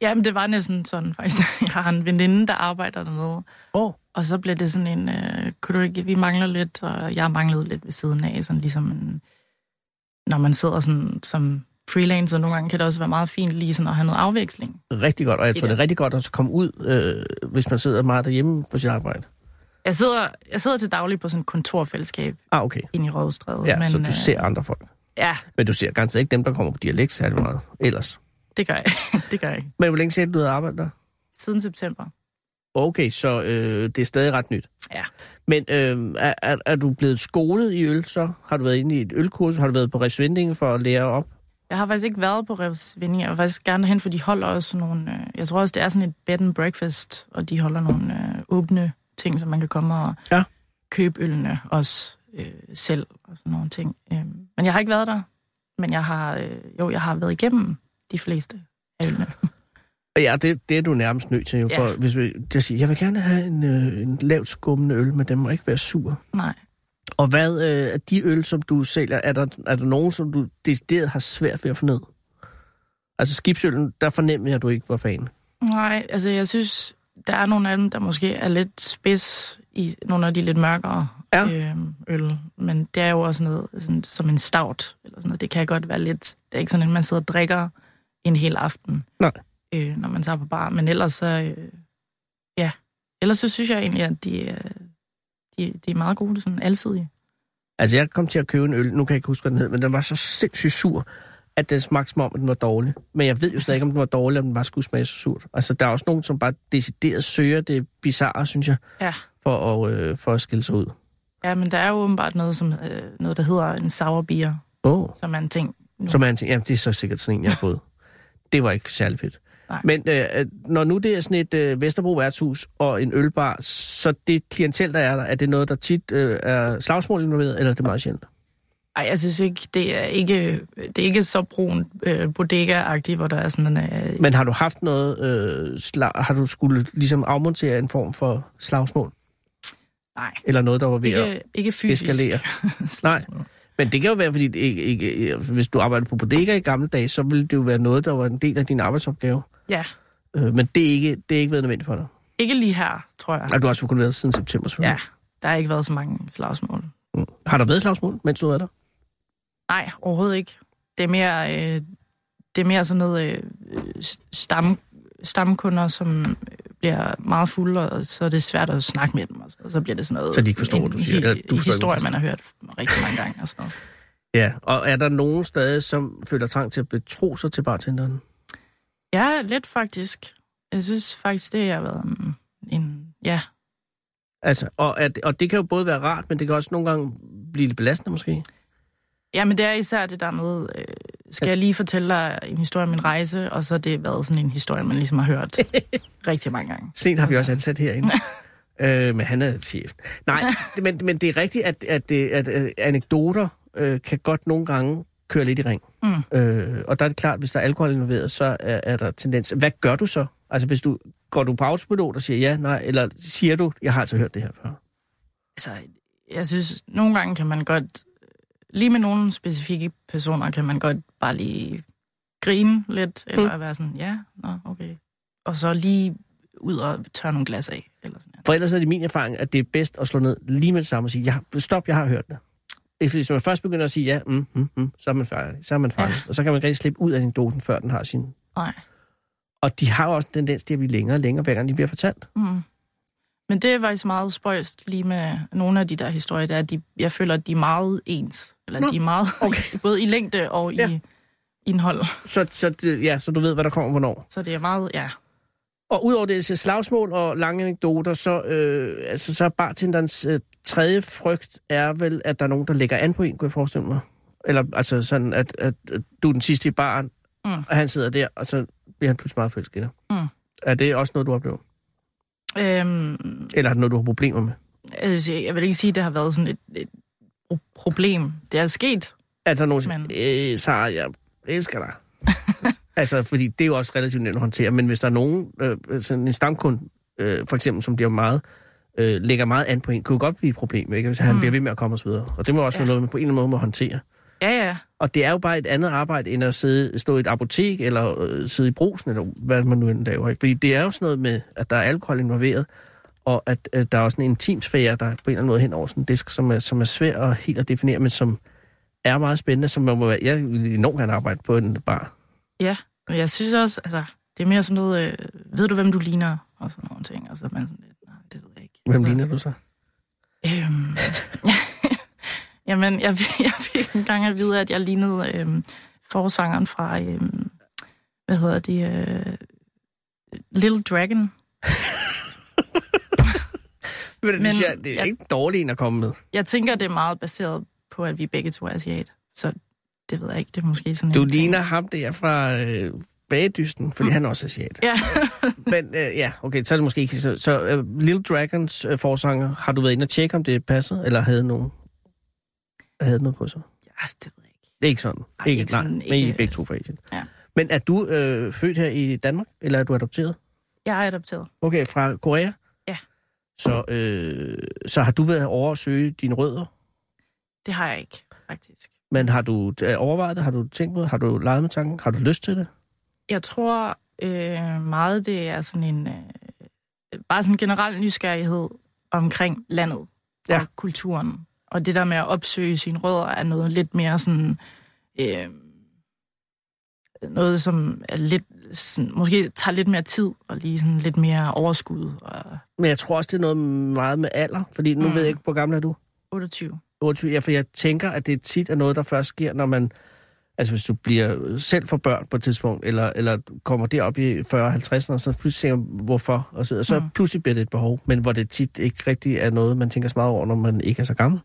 Speaker 8: Jamen, det var næsten sådan, faktisk. Jeg har en veninde, der arbejder dernede,
Speaker 4: Åh, oh,
Speaker 8: Og så blev det sådan en, øh, kunne du ikke, vi mangler lidt, og jeg manglede lidt ved siden af, sådan ligesom en, når man sidder sådan som freelancer, nogle gange kan det også være meget fint lige sådan at have noget afveksling.
Speaker 4: rigtig godt, og jeg tror,
Speaker 8: Ja.
Speaker 4: det er rigtig godt at komme ud, øh, hvis man sidder meget derhjemme på sit arbejde.
Speaker 8: Jeg sidder, jeg sidder til daglig på sådan et kontorfællesskab
Speaker 4: Ah, okay.
Speaker 8: ind i Rådstræde.
Speaker 4: Ja, men, så du
Speaker 8: øh,
Speaker 4: ser andre folk.
Speaker 8: Ja,
Speaker 4: Men du ser ganske ikke dem, der kommer på dialekt særlig meget ellers.
Speaker 8: det gør jeg. det gør jeg ikke.
Speaker 4: Men hvor længe siden du havde arbejdet der?
Speaker 8: Siden september.
Speaker 4: Okay, så øh, det er stadig ret nyt.
Speaker 8: Ja.
Speaker 4: Men øh, er, er, er du blevet skolet i øl så? Har du været inde i et ølkursus? Har du været på resvindingen for at lære op?
Speaker 8: Jeg har faktisk ikke været på Revs Vinding. Jeg vil faktisk gerne hen, for de holder også sådan nogle... Øh, jeg tror også, det er sådan et bed and breakfast, og de holder nogle øh, åbne ting, så man kan komme og
Speaker 4: Ja.
Speaker 8: købe ølene også øh, selv og sådan nogle ting. Øh, men jeg har ikke været der. Men jeg har... Øh, jo, jeg har været igennem de fleste af ølene.
Speaker 4: Ja, det, det er du nærmest nødt til. Jo,
Speaker 8: Ja.
Speaker 4: for, hvis vi, jeg, siger, jeg vil gerne have en, øh, en lavt skummende øl, men den må ikke være sur.
Speaker 8: Nej.
Speaker 4: Og hvad øh, er de øl, som du sælger? Er der, er der nogen, som du decideret har svært ved at få ned? Altså skibsøllen, der fornemmer jeg, at du ikke var fan.
Speaker 8: Nej, altså jeg synes, der er nogle af dem, der måske er lidt spids i nogle af de lidt mørkere
Speaker 4: Ja.
Speaker 8: øh, øl. Men det er jo også noget sådan, som en stout. Eller sådan noget. Det kan godt være lidt... Det er ikke sådan, at man sidder og drikker en hel aften,
Speaker 4: Nej.
Speaker 8: øh, når man tager på bar. Men ellers så... Øh, ja. Ellers så synes jeg egentlig, at de, øh, de, de er meget gode, sådan alsidige.
Speaker 4: Altså, jeg kom til at købe en øl, nu kan jeg ikke huske, hvad den hed, men den var så sindssygt sur, at den smagte som om, at den var dårlig. Men jeg ved jo stadig ikke, om den var dårlig, eller om den bare skulle smage så surt. Altså, der er også nogen, som bare decideret søger det bizarre, synes jeg,
Speaker 8: Ja.
Speaker 4: for at, øh, for at skille sig ud.
Speaker 8: Ja, men der er jo åbenbart noget, som, øh, noget der hedder en sour beer,
Speaker 4: Åh, oh.
Speaker 8: som er en ting. nu.
Speaker 4: så man tænker, jamen, det er så sikkert sådan en, jeg har fået. Det var ikke særlig fedt.
Speaker 8: Nej.
Speaker 4: Men øh, når nu det er sådan et øh, Vesterbro værtshus og en ølbar, så det klientel, der er der, er det noget, der tit øh, er slagsmål involveret, eller er det meget sjældent?
Speaker 8: Ej, altså, jeg synes ikke, det er ikke, det er ikke så brun øh, bodega-agtigt, hvor der er sådan en... Øh,
Speaker 4: Men har du haft noget, øh, sla- har du skulle ligesom afmontere en form for slagsmål?
Speaker 8: nej,
Speaker 4: Eller noget, der var ved at...
Speaker 8: ikke, ikke fysisk.
Speaker 4: eskalere.
Speaker 8: slagsmål.
Speaker 4: Men det kan jo være, fordi det ikke, ikke, øh, hvis du arbejdede på bodega i gamle dage, så ville det jo være noget, der var en del af din arbejdsopgave.
Speaker 8: Ja,
Speaker 4: Øh, men det er ikke, det er ikke været nødvendigt for dig.
Speaker 8: ikke lige her, tror jeg.
Speaker 4: Og du har også kun været siden september,
Speaker 8: Ja,
Speaker 4: selvfølgelig.
Speaker 8: der har ikke været så mange slagsmål.
Speaker 4: Mm. Har der været slagsmål, mens du var der?
Speaker 8: Nej, overhovedet ikke. Det er mere, øh, det er mere sådan noget øh, s- stam, stamkunder, som øh, bliver meget fulde, og så er det svært at snakke med dem. Og så, og så bliver det sådan noget...
Speaker 4: Så de ikke forstår,
Speaker 8: en
Speaker 4: hvad du siger, eller du forstår ikke,
Speaker 8: hi-
Speaker 4: hvad
Speaker 8: historie,
Speaker 4: du
Speaker 8: man har hørt rigtig mange gange. Og sådan noget.
Speaker 4: Ja. Og er der nogen stadig, som føler trang til at betro sig til bartenderen?
Speaker 8: Ja, lidt faktisk. Jeg synes faktisk, det har været en... en ja,
Speaker 4: Altså, og, at, og det kan jo både være rart, men det kan også nogle gange blive lidt belastende måske.
Speaker 8: Ja, men det er især det der med, øh, skal jeg lige fortælle dig en historie om min rejse, og så har det været sådan en historie, man ligesom har hørt rigtig mange gange.
Speaker 4: Sen har vi også ansat herinde. øh, men han er chef. Nej, men, men det er rigtigt, at, at, det- at, at anekdoter øh, kan godt nogle gange køre lidt i ring. Mm. Øh, og der er det klart, hvis der er alkohol involveret, så er, er der tendens. Hvad gør du så? Altså hvis du, går du på autopilot og siger ja, nej, eller siger du, jeg har altså hørt det her før?
Speaker 8: Altså, jeg synes, nogle gange kan man godt, lige med nogle specifikke personer, kan man godt bare lige grine lidt, eller være sådan, ja, nå, okay. Og så lige ud og tørre nogle glas af, eller sådan noget.
Speaker 4: For ellers er det min erfaring, at det er bedst at slå ned lige med det samme og sige, ja, stop, jeg har hørt det. Hvis man først begynder at sige ja, mm, mm, mm, så er man færdig, så er man færdig. Ja. Og så kan man ikke rigtig slippe ud af anekdoten, før den har sin
Speaker 8: Nej.
Speaker 4: Og de har jo også en tendens til at blive længere og længere, hver gang de bliver fortalt.
Speaker 8: Mm. Men det er faktisk meget spøjst lige med nogle af de der historier, der er, at de, jeg føler, at de er meget ens. Eller
Speaker 4: Nå,
Speaker 8: Nå. de er meget,
Speaker 4: okay.
Speaker 8: okay. både i længde og i
Speaker 4: Ja.
Speaker 8: ja. indhold.
Speaker 4: Så, så, det- ja, så du ved, hvad der kommer hvornår.
Speaker 8: Så det er meget, ja.
Speaker 4: Og udover det til slagsmål og lange anekdoter, så, øh, altså, så er bartenderens øh, tredje frygt er vel, at der er nogen, der lægger an på en, kunne jeg forestille mig. Eller altså sådan, at, at, at du er den sidste i baren, mm.
Speaker 8: Mm.
Speaker 4: og han sidder der, og så bliver han pludselig meget forelsket i dig.
Speaker 8: Mm.
Speaker 4: Er det også noget, du oplever?
Speaker 8: Øhm,
Speaker 4: Eller er det noget, du har problemer med?
Speaker 8: jeg, vil sige, jeg vil ikke sige, at det har været sådan et, et pro- problem. Det er sket.
Speaker 4: Er der nogen, der
Speaker 8: Men-
Speaker 4: siger, Altså, øh, Sara, jeg elsker dig. altså, fordi det er jo også relativt nemt at håndtere, men hvis der er nogen, øh, sådan en stamkund, øh, for eksempel, som bliver meget, øh, lægger meget an på en, kunne jo godt blive et problem, ikke? hvis han bliver ved med at komme osv. Og det må også være
Speaker 8: Mm. Ja.
Speaker 4: noget, man på en eller anden måde må håndtere.
Speaker 8: Ja, ja.
Speaker 4: Og det er jo bare et andet arbejde, end at sidde, stå i et apotek, eller øh, sidde i brusen, eller hvad man nu end laver. Ikke? Fordi det er jo sådan noget med, at der er alkohol involveret, og at øh, der er også en intimsfære, der på en eller anden måde hen over sådan en disk, som er, som er svær og helt at definere, men som er meget spændende, som man må være, jeg vil enormt gerne arbejde på en bar.
Speaker 8: Ja, men jeg synes også, altså, det er mere sådan noget, øh, ved du, hvem du ligner? Og sådan nogle ting, og så er man sådan lidt, nej, det ved jeg ikke.
Speaker 4: Hvem
Speaker 8: Altså,
Speaker 4: ligner du så?
Speaker 8: Øhm, jamen, jeg, fik- jeg fik en gang at vide, at jeg lignede øhm, forsangeren fra, øhm, hvad hedder det, øh, Little Dragon.
Speaker 4: Men, det,
Speaker 8: Men-
Speaker 4: synes jeg, det er
Speaker 8: jeg-
Speaker 4: ikke dårligt en at komme med.
Speaker 8: Jeg tænker, det er meget baseret på, at vi begge to er asiat, så det ved jeg ikke, det er Mm. måske sådan
Speaker 4: Du
Speaker 8: en ting.
Speaker 4: ligner ham der fra øh, Bagedysten, fordi han også er asiat.
Speaker 8: Ja,
Speaker 4: Men øh, ja, okay, så er det måske ikke så... Så øh, Little Dragons øh, forsanger, har du været inde og tjekke, om det passede, eller havde nogen? Havde noget på sig?
Speaker 8: ja det ved jeg ikke.
Speaker 4: Det er ikke sådan.
Speaker 8: Nej, ikke sådan,
Speaker 4: nej, men
Speaker 8: ikke-
Speaker 4: I er begge to fra Asien.
Speaker 8: Ja.
Speaker 4: Men er du øh, født her i Danmark, eller er du adopteret?
Speaker 8: Jeg er adopteret.
Speaker 4: Okay, fra Korea?
Speaker 8: Ja.
Speaker 4: Så, øh, så har du været over at søge dine rødder,
Speaker 8: Det har jeg ikke, faktisk.
Speaker 4: men har du øh, overvejet det? Har du tænkt på det? Har du leget med tanken? Har du lyst til det?
Speaker 8: Jeg tror øh, meget, det er sådan en... Øh, bare sådan en generel nysgerrighed omkring landet ja.
Speaker 4: Ja.
Speaker 8: og kulturen. Og det der med at opsøge sine rødder er noget lidt mere sådan... Øh, noget, som er lidt, sådan, måske tager lidt mere tid og lige sådan lidt mere overskud. Og
Speaker 4: Men jeg tror også, det er noget meget med alder, fordi nu mm.
Speaker 8: Mm.
Speaker 4: ved jeg ikke, hvor gammel er du?
Speaker 8: 28.
Speaker 4: 28, ja, for jeg tænker, at det tit er noget, der først sker, når man... Altså, hvis du bliver selv for børn på et tidspunkt, eller, eller du kommer derop i 40-50'erne, og så pludselig tænker man, hvorfor, og så, og så mm.
Speaker 8: Mm.
Speaker 4: pludselig bliver det et behov, men hvor det tit ikke rigtig er noget, man tænker så meget over, når man ikke er så gammel.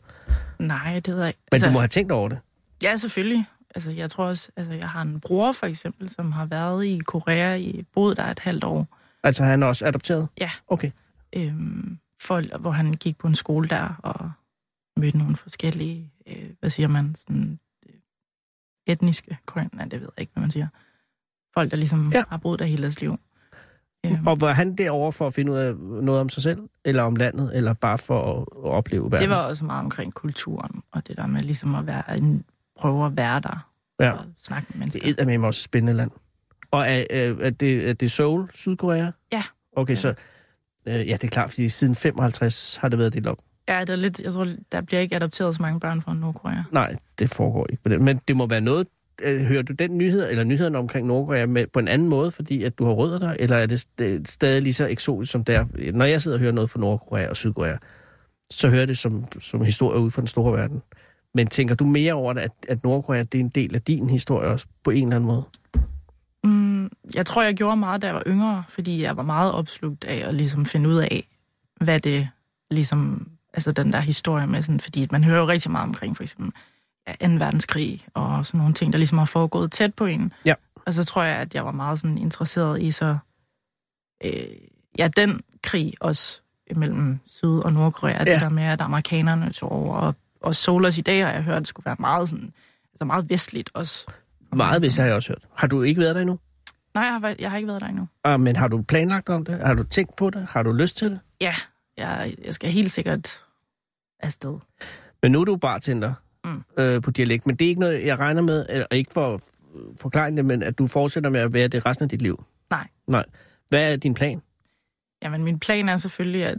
Speaker 4: Men
Speaker 8: Nej, det ved jeg ikke.
Speaker 4: altså, du må have tænkt over det.
Speaker 8: Ja, selvfølgelig. Altså, jeg tror også, altså, jeg har en bror for eksempel, som har været i Korea, i, boet der et halvt år.
Speaker 4: Altså, han er også adopteret?
Speaker 8: Ja.
Speaker 4: Okay.
Speaker 8: øhm, folk, hvor han gik på en skole der og mødte nogle forskellige, øh, hvad siger man, sådan øh, etniske koreanere, nej, det ved jeg ikke, hvad man siger. Folk, der ligesom
Speaker 4: Ja.
Speaker 8: ja. har boet der hele deres liv. Øhm,
Speaker 4: Og var han derovre for at finde ud af noget om sig selv, eller om landet, eller bare for at, at opleve verden?
Speaker 8: det var også meget omkring kulturen, og det der med ligesom at være en, prøve at være der
Speaker 4: Ja.
Speaker 8: og snakke med mennesker.
Speaker 4: Det er med også et spændende land. Og er, øh, er, det, er det Seoul, Sydkorea?
Speaker 8: Ja.
Speaker 4: Okay, så... Øh, ja, det er klart, fordi siden 55 har det været delt op.
Speaker 8: Ja, der er lidt, jeg tror, der bliver ikke adopteret så mange børn fra Nordkorea.
Speaker 4: Nej, det foregår ikke på den. Men det må være noget... Øh, hører du den nyhed, eller nyhederne omkring Nordkorea med, på en anden måde, fordi at du har rødder der? Eller er det st- øh, stadig lige så eksotisk som der? Når jeg sidder og hører noget fra Nordkorea og Sydkorea, så hører jeg det som, som historie ud fra den store verden. Men tænker du mere over det, at, at Nordkorea det er en del af din historie også, på en eller anden måde?
Speaker 8: Mm, jeg tror, jeg gjorde meget, da jeg var yngre, fordi jeg var meget opslugt af at ligesom finde ud af, hvad det ligesom, altså den der historie med sådan, fordi man hører jo rigtig meget omkring for eksempel ja, 2. verdenskrig og sådan nogle ting, der ligesom har foregået tæt på en.
Speaker 4: Ja.
Speaker 8: Og så tror jeg, at jeg var meget sådan interesseret i så, øh, ja, den krig også mellem Syd- og Nordkorea, ja.
Speaker 4: Ja.
Speaker 8: det der med, at amerikanerne tog over, og, og Solas i dag har jeg hørt, skulle være meget sådan, altså meget vestligt også.
Speaker 4: Meget, hvis jeg har jeg også hørt. Har du ikke været der endnu?
Speaker 8: Nej, jeg har, været- jeg har ikke været der endnu.
Speaker 4: Ah, men har du planlagt om det? Har du tænkt på det? Har du lyst til det?
Speaker 8: Ja, jeg, jeg skal helt sikkert afsted.
Speaker 4: Men nu er du bartender mm.
Speaker 8: Mm.
Speaker 4: øh, på dialekt, men det er ikke noget, jeg regner med, eller- og ikke for at forklare det, men at du fortsætter med at være det resten af dit liv.
Speaker 8: Nej.
Speaker 4: Nej. Hvad er din plan?
Speaker 8: Jamen, min plan er selvfølgelig, at,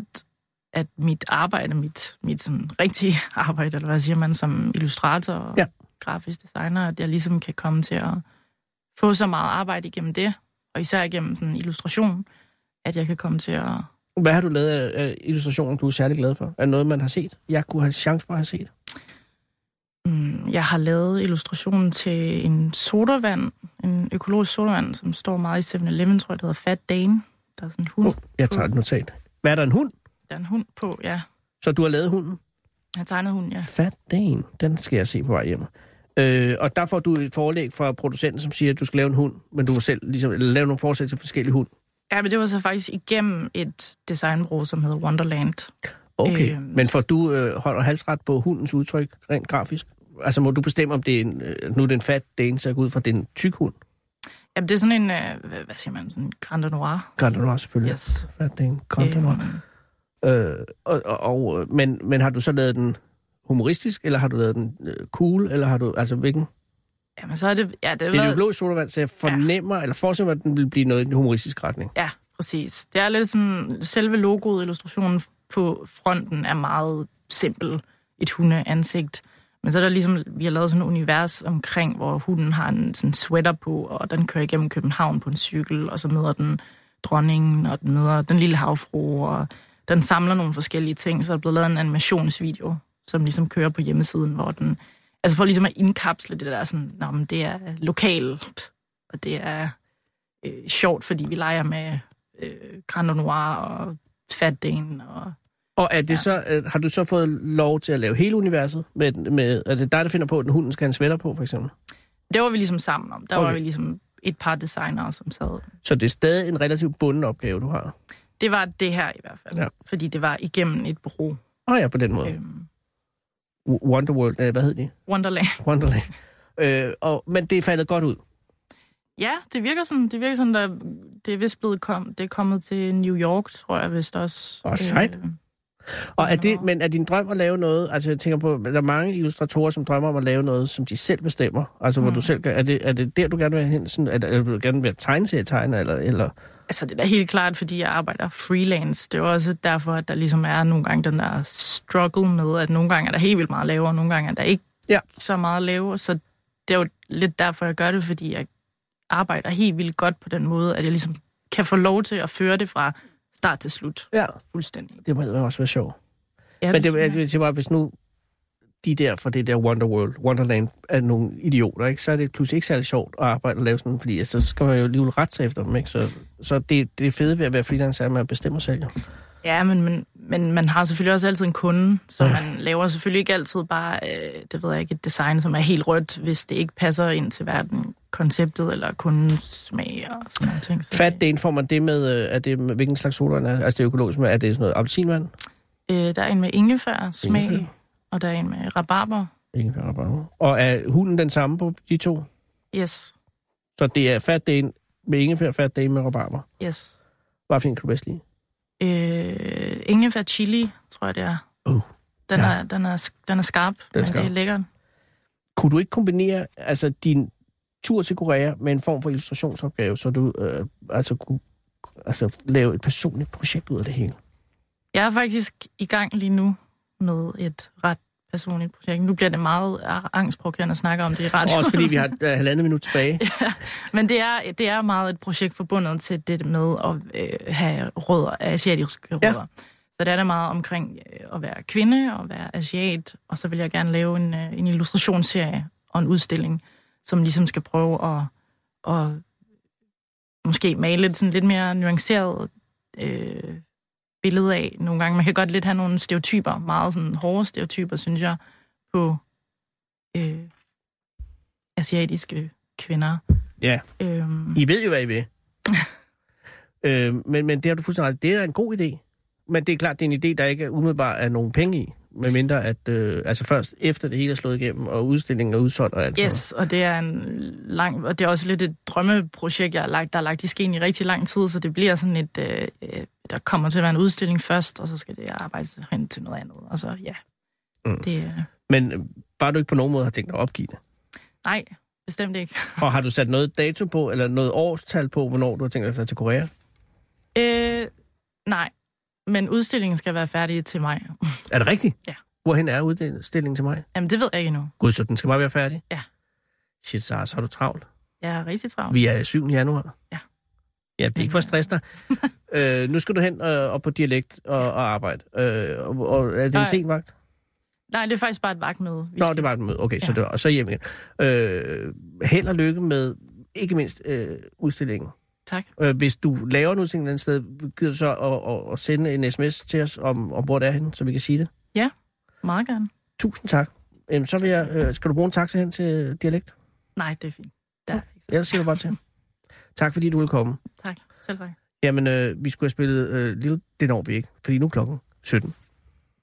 Speaker 8: at mit arbejde, mit, mit sådan rigtige arbejde, eller hvad siger man, som illustrator og
Speaker 4: Ja.
Speaker 8: ja. grafisk designer, at jeg ligesom kan komme til at få så meget arbejde igennem det, og især igennem sådan illustration, at jeg kan komme til at
Speaker 4: Hvad har du lavet af, af illustrationer, du er særlig glad for? Er det noget, man har set? Jeg kunne have chance for at have set.
Speaker 8: Mm, Jeg har lavet illustrationen til en sodavand, en økologisk sodavand, som står meget i 7-Eleven, tror jeg, det hedder Fat Dane. Der er sådan en hund,
Speaker 4: Uh, jeg
Speaker 8: Mm.
Speaker 4: tager et notat. Hvad er der en hund?
Speaker 8: der er en hund på, ja.
Speaker 4: Så du har lavet hunden?
Speaker 8: Jeg har tegnet hunden, ja.
Speaker 4: Fat Dan. Den skal jeg se på vej hjem. Øh, og der får du et forelæg fra producenten, som siger, at du skal lave en hund, men du må selv ligesom, eller lave nogle forsæt til forskellige hund.
Speaker 8: Ja, men det var så faktisk igennem et designbureau, som hedder Wonderland.
Speaker 4: Okay,
Speaker 8: Øhm,
Speaker 4: øhm. men får du øh, holder halsret på hundens udtryk rent grafisk? Altså må du bestemme, om det er en, øh, nu er det en fat dane, så jeg går ud fra, at det er en tyk hund?
Speaker 8: Jamen, det er sådan en, øh, hvad- hvad siger man, sådan en Grand Noir.
Speaker 4: Grand Noir selvfølgelig.
Speaker 8: Yes.
Speaker 4: Fat dane, Grand Noir.
Speaker 8: Øhm,
Speaker 4: Øh, og, og, og, øh, men, men har du så lavet den humoristisk, eller har du lavet den øh, cool, eller har du, altså hvilken?
Speaker 8: Jamen, så er det, ja, det,
Speaker 4: Det er en
Speaker 8: var,
Speaker 4: økologisk sodavand, så jeg fornemmer, ja. eller forestiller mig, at den vil blive noget i den humoristiske retning.
Speaker 8: Ja, præcis. Det er lidt sådan, selve logoet, illustrationen på fronten er meget simpel. Et hundeansigt. Men så er der ligesom, vi har lavet sådan et univers omkring, hvor hunden har en sådan sweater på, og den kører igennem København på en cykel, og så møder den dronningen, og den møder den lille havfru, og den samler nogle forskellige ting, så er der blevet lavet en animationsvideo, som ligesom kører på hjemmesiden, hvor den... Altså for ligesom at indkapsle det der sådan, Nå, men det er lokalt, og det er øh, sjovt, fordi vi leger med øh, Grand Noir og Fat Dane. Og...
Speaker 4: Og er det ja. så, øh, har du så fået lov til at lave hele universet? Med, med, er det dig, der finder på, at den hunden skal have en sweater på, for eksempel?
Speaker 8: Det var vi ligesom sammen om. Der okay. var
Speaker 4: Okay.
Speaker 8: vi ligesom et par designere, som sad.
Speaker 4: Så det er stadig en relativt bunden opgave, du har.
Speaker 8: Det var det her i hvert fald,
Speaker 4: Ja.
Speaker 8: ja. fordi det var igennem et bureau.
Speaker 4: Åh oh ja, på den måde. Okay.
Speaker 8: Øhm,
Speaker 4: Wonderworld, øh, hvad hed de?
Speaker 8: Wonderland.
Speaker 4: Wonderland. øh, og, men det er faldet godt ud.
Speaker 8: Ja, det virker sådan, det virker sådan, der, det er vist blevet kom, det er kommet til New York, tror jeg vist også.
Speaker 4: Åh, sejt.
Speaker 8: Øh,
Speaker 4: Og er det, men er din drøm at lave noget, altså jeg tænker på, der er mange illustratorer, som drømmer om at lave noget, som de selv bestemmer. Altså hvor du selv gør, er det, er det der, du gerne vil hen? Sådan, er, det, er, du gerne vil tegneserietegner, eller, eller
Speaker 8: Altså, det er da helt klart, fordi jeg arbejder freelance. Det er jo også derfor, at der ligesom er nogle gange den der struggle med, at nogle gange er der helt vildt meget at lave, og nogle gange er der ikke
Speaker 4: Ja.
Speaker 8: så meget at lave. Så det er jo lidt derfor, jeg gør det, fordi jeg arbejder helt vildt godt på den måde, at jeg ligesom kan få lov til at føre det fra start til slut
Speaker 4: Ja,
Speaker 8: fuldstændig.
Speaker 4: det må eddermame også være sjovt.
Speaker 8: Ja,
Speaker 4: Men
Speaker 8: det,
Speaker 4: det, jeg
Speaker 8: det,
Speaker 4: vil sige bare, hvis nu de der fra det der Wonderworld, Wonderland, er nogle idioter, ikke? så er det pludselig ikke særlig sjovt at arbejde og lave sådan, fordi altså, så skal man jo alligevel rette sig efter dem. Ikke? Så, så det, det fede ved at være freelancer er, at man bestemmer selv. Jo.
Speaker 8: ja men, men, men man har selvfølgelig også altid en kunde, så man laver selvfølgelig ikke altid bare, øh, det ved jeg ikke, et design, som er helt rødt, hvis det ikke passer ind til hverken konceptet eller kundens smag og sådan nogle ting. Så,
Speaker 4: Fat det får man det med, øh, er det med, hvilken slags sodavand er, altså det er økologisk med, er det sådan noget appelsinvand?
Speaker 8: Øh, der er en med ingefær smag,
Speaker 4: Ingefær.
Speaker 8: ingefær. og der er en med rabarber.
Speaker 4: Ingefær og rabarber. Og er hunden den samme på de to?
Speaker 8: Yes,
Speaker 4: Så det er fat det med ingefær, fat det med rabarber.
Speaker 8: yes.
Speaker 4: Hvad for en kan du bedst lide?
Speaker 8: Øh, ingefær chili, tror jeg det er.
Speaker 4: Uh,
Speaker 8: Den,
Speaker 4: ja.
Speaker 8: ja. er, den, er, sk- den er skarp, den men
Speaker 4: skarp.
Speaker 8: det er lækkert.
Speaker 4: kunne du ikke kombinere altså din tur til Korea med en form for illustrationsopgave, så du øh, altså kunne altså, lave et personligt projekt ud af det hele?
Speaker 8: Jeg er faktisk i gang lige nu med et ret personligt projekt. Nu bliver det meget angstprovokerende at snakke om det i radioen.
Speaker 4: Også fordi vi har øh, halvandet minut tilbage.
Speaker 8: Men det er, det er meget et projekt forbundet til det med at øh, have rødder, asiatiske
Speaker 4: Ja.
Speaker 8: rødder. Så det er da meget omkring øh, at være kvinde og være asiat, og så vil jeg gerne lave en, øh, en illustrationsserie og en udstilling, som ligesom skal prøve at, at måske male et sådan lidt mere nuanceret øh, billede af nogle gange. Man kan godt lidt have nogle stereotyper, meget sådan hårde stereotyper, synes jeg, på øh, asiatiske kvinder.
Speaker 4: Ja.
Speaker 8: Øhm,
Speaker 4: I ved jo, hvad I vil. øh, men, men det har du fuldstændig ret. i. Det er en god idé. Men det er klart, det er en idé, der ikke er umiddelbart er nogen penge i. Medmindre at, øh, altså først efter det hele er slået igennem, og udstillingen er udsolgt og alt sådan
Speaker 8: Yes, og det er en lang, og det er også lidt et drømmeprojekt, jeg har lagt, der har lagt i skeen i rigtig lang tid, så det bliver sådan et, øh, øh, der kommer til at være en udstilling først, og så skal det arbejde hen til noget andet, og så ja.
Speaker 4: Mm.
Speaker 8: Mm. Det, øh,
Speaker 4: noget. Men øh, bare du ikke på nogen måde har tænkt dig at opgive det.
Speaker 8: nej, bestemt ikke.
Speaker 4: Og har du sat noget dato på, eller noget årstal på, hvornår du har tænkt dig at tage til Korea?
Speaker 8: Øh, nej, men udstillingen skal være færdig til mig.
Speaker 4: Er det rigtigt?
Speaker 8: Ja.
Speaker 4: Hvorhen er udstillingen til mig?
Speaker 8: Jamen, det ved jeg ikke endnu.
Speaker 4: Gud, så den skal bare være færdig?
Speaker 8: Ja.
Speaker 4: Shit, Sara, så har du travlt.
Speaker 8: Jeg er rigtig travlt.
Speaker 4: Vi er 7. januar.
Speaker 8: Ja.
Speaker 4: Ja, det er ikke for at stresse dig. øh, nu skal du hen øh, og på dialekt og, og arbejde. Øh, og, og, er det
Speaker 8: Nej.
Speaker 4: en sen vagt?
Speaker 8: Nej, det er faktisk bare et vagtmøde. Vi
Speaker 4: Nå,
Speaker 8: skal-
Speaker 4: det var et møde. Okay, ja. så,
Speaker 8: Ja.
Speaker 4: det var, og så hjem igen. Øh, held og lykke med, ikke mindst, øh, udstillingen.
Speaker 8: Tak.
Speaker 4: Øh, hvis du laver en udstilling et eller andet sted, gider du så at, at, at sende en sms til os om, om hvor det er henne, så vi kan sige det.
Speaker 8: Meget gerne.
Speaker 4: Tusind tak. Øhm, så vil jeg, øh, skal du bruge en taxa hen til dialekt?
Speaker 8: Nej, det er fint. Der er ikke så-
Speaker 4: Ellers siger du bare til. Tak fordi du ville komme.
Speaker 8: Tak. Selv tak.
Speaker 4: Jamen, øh, vi skulle have spillet øh, Lille... Det når vi ikke, fordi nu er klokken 17.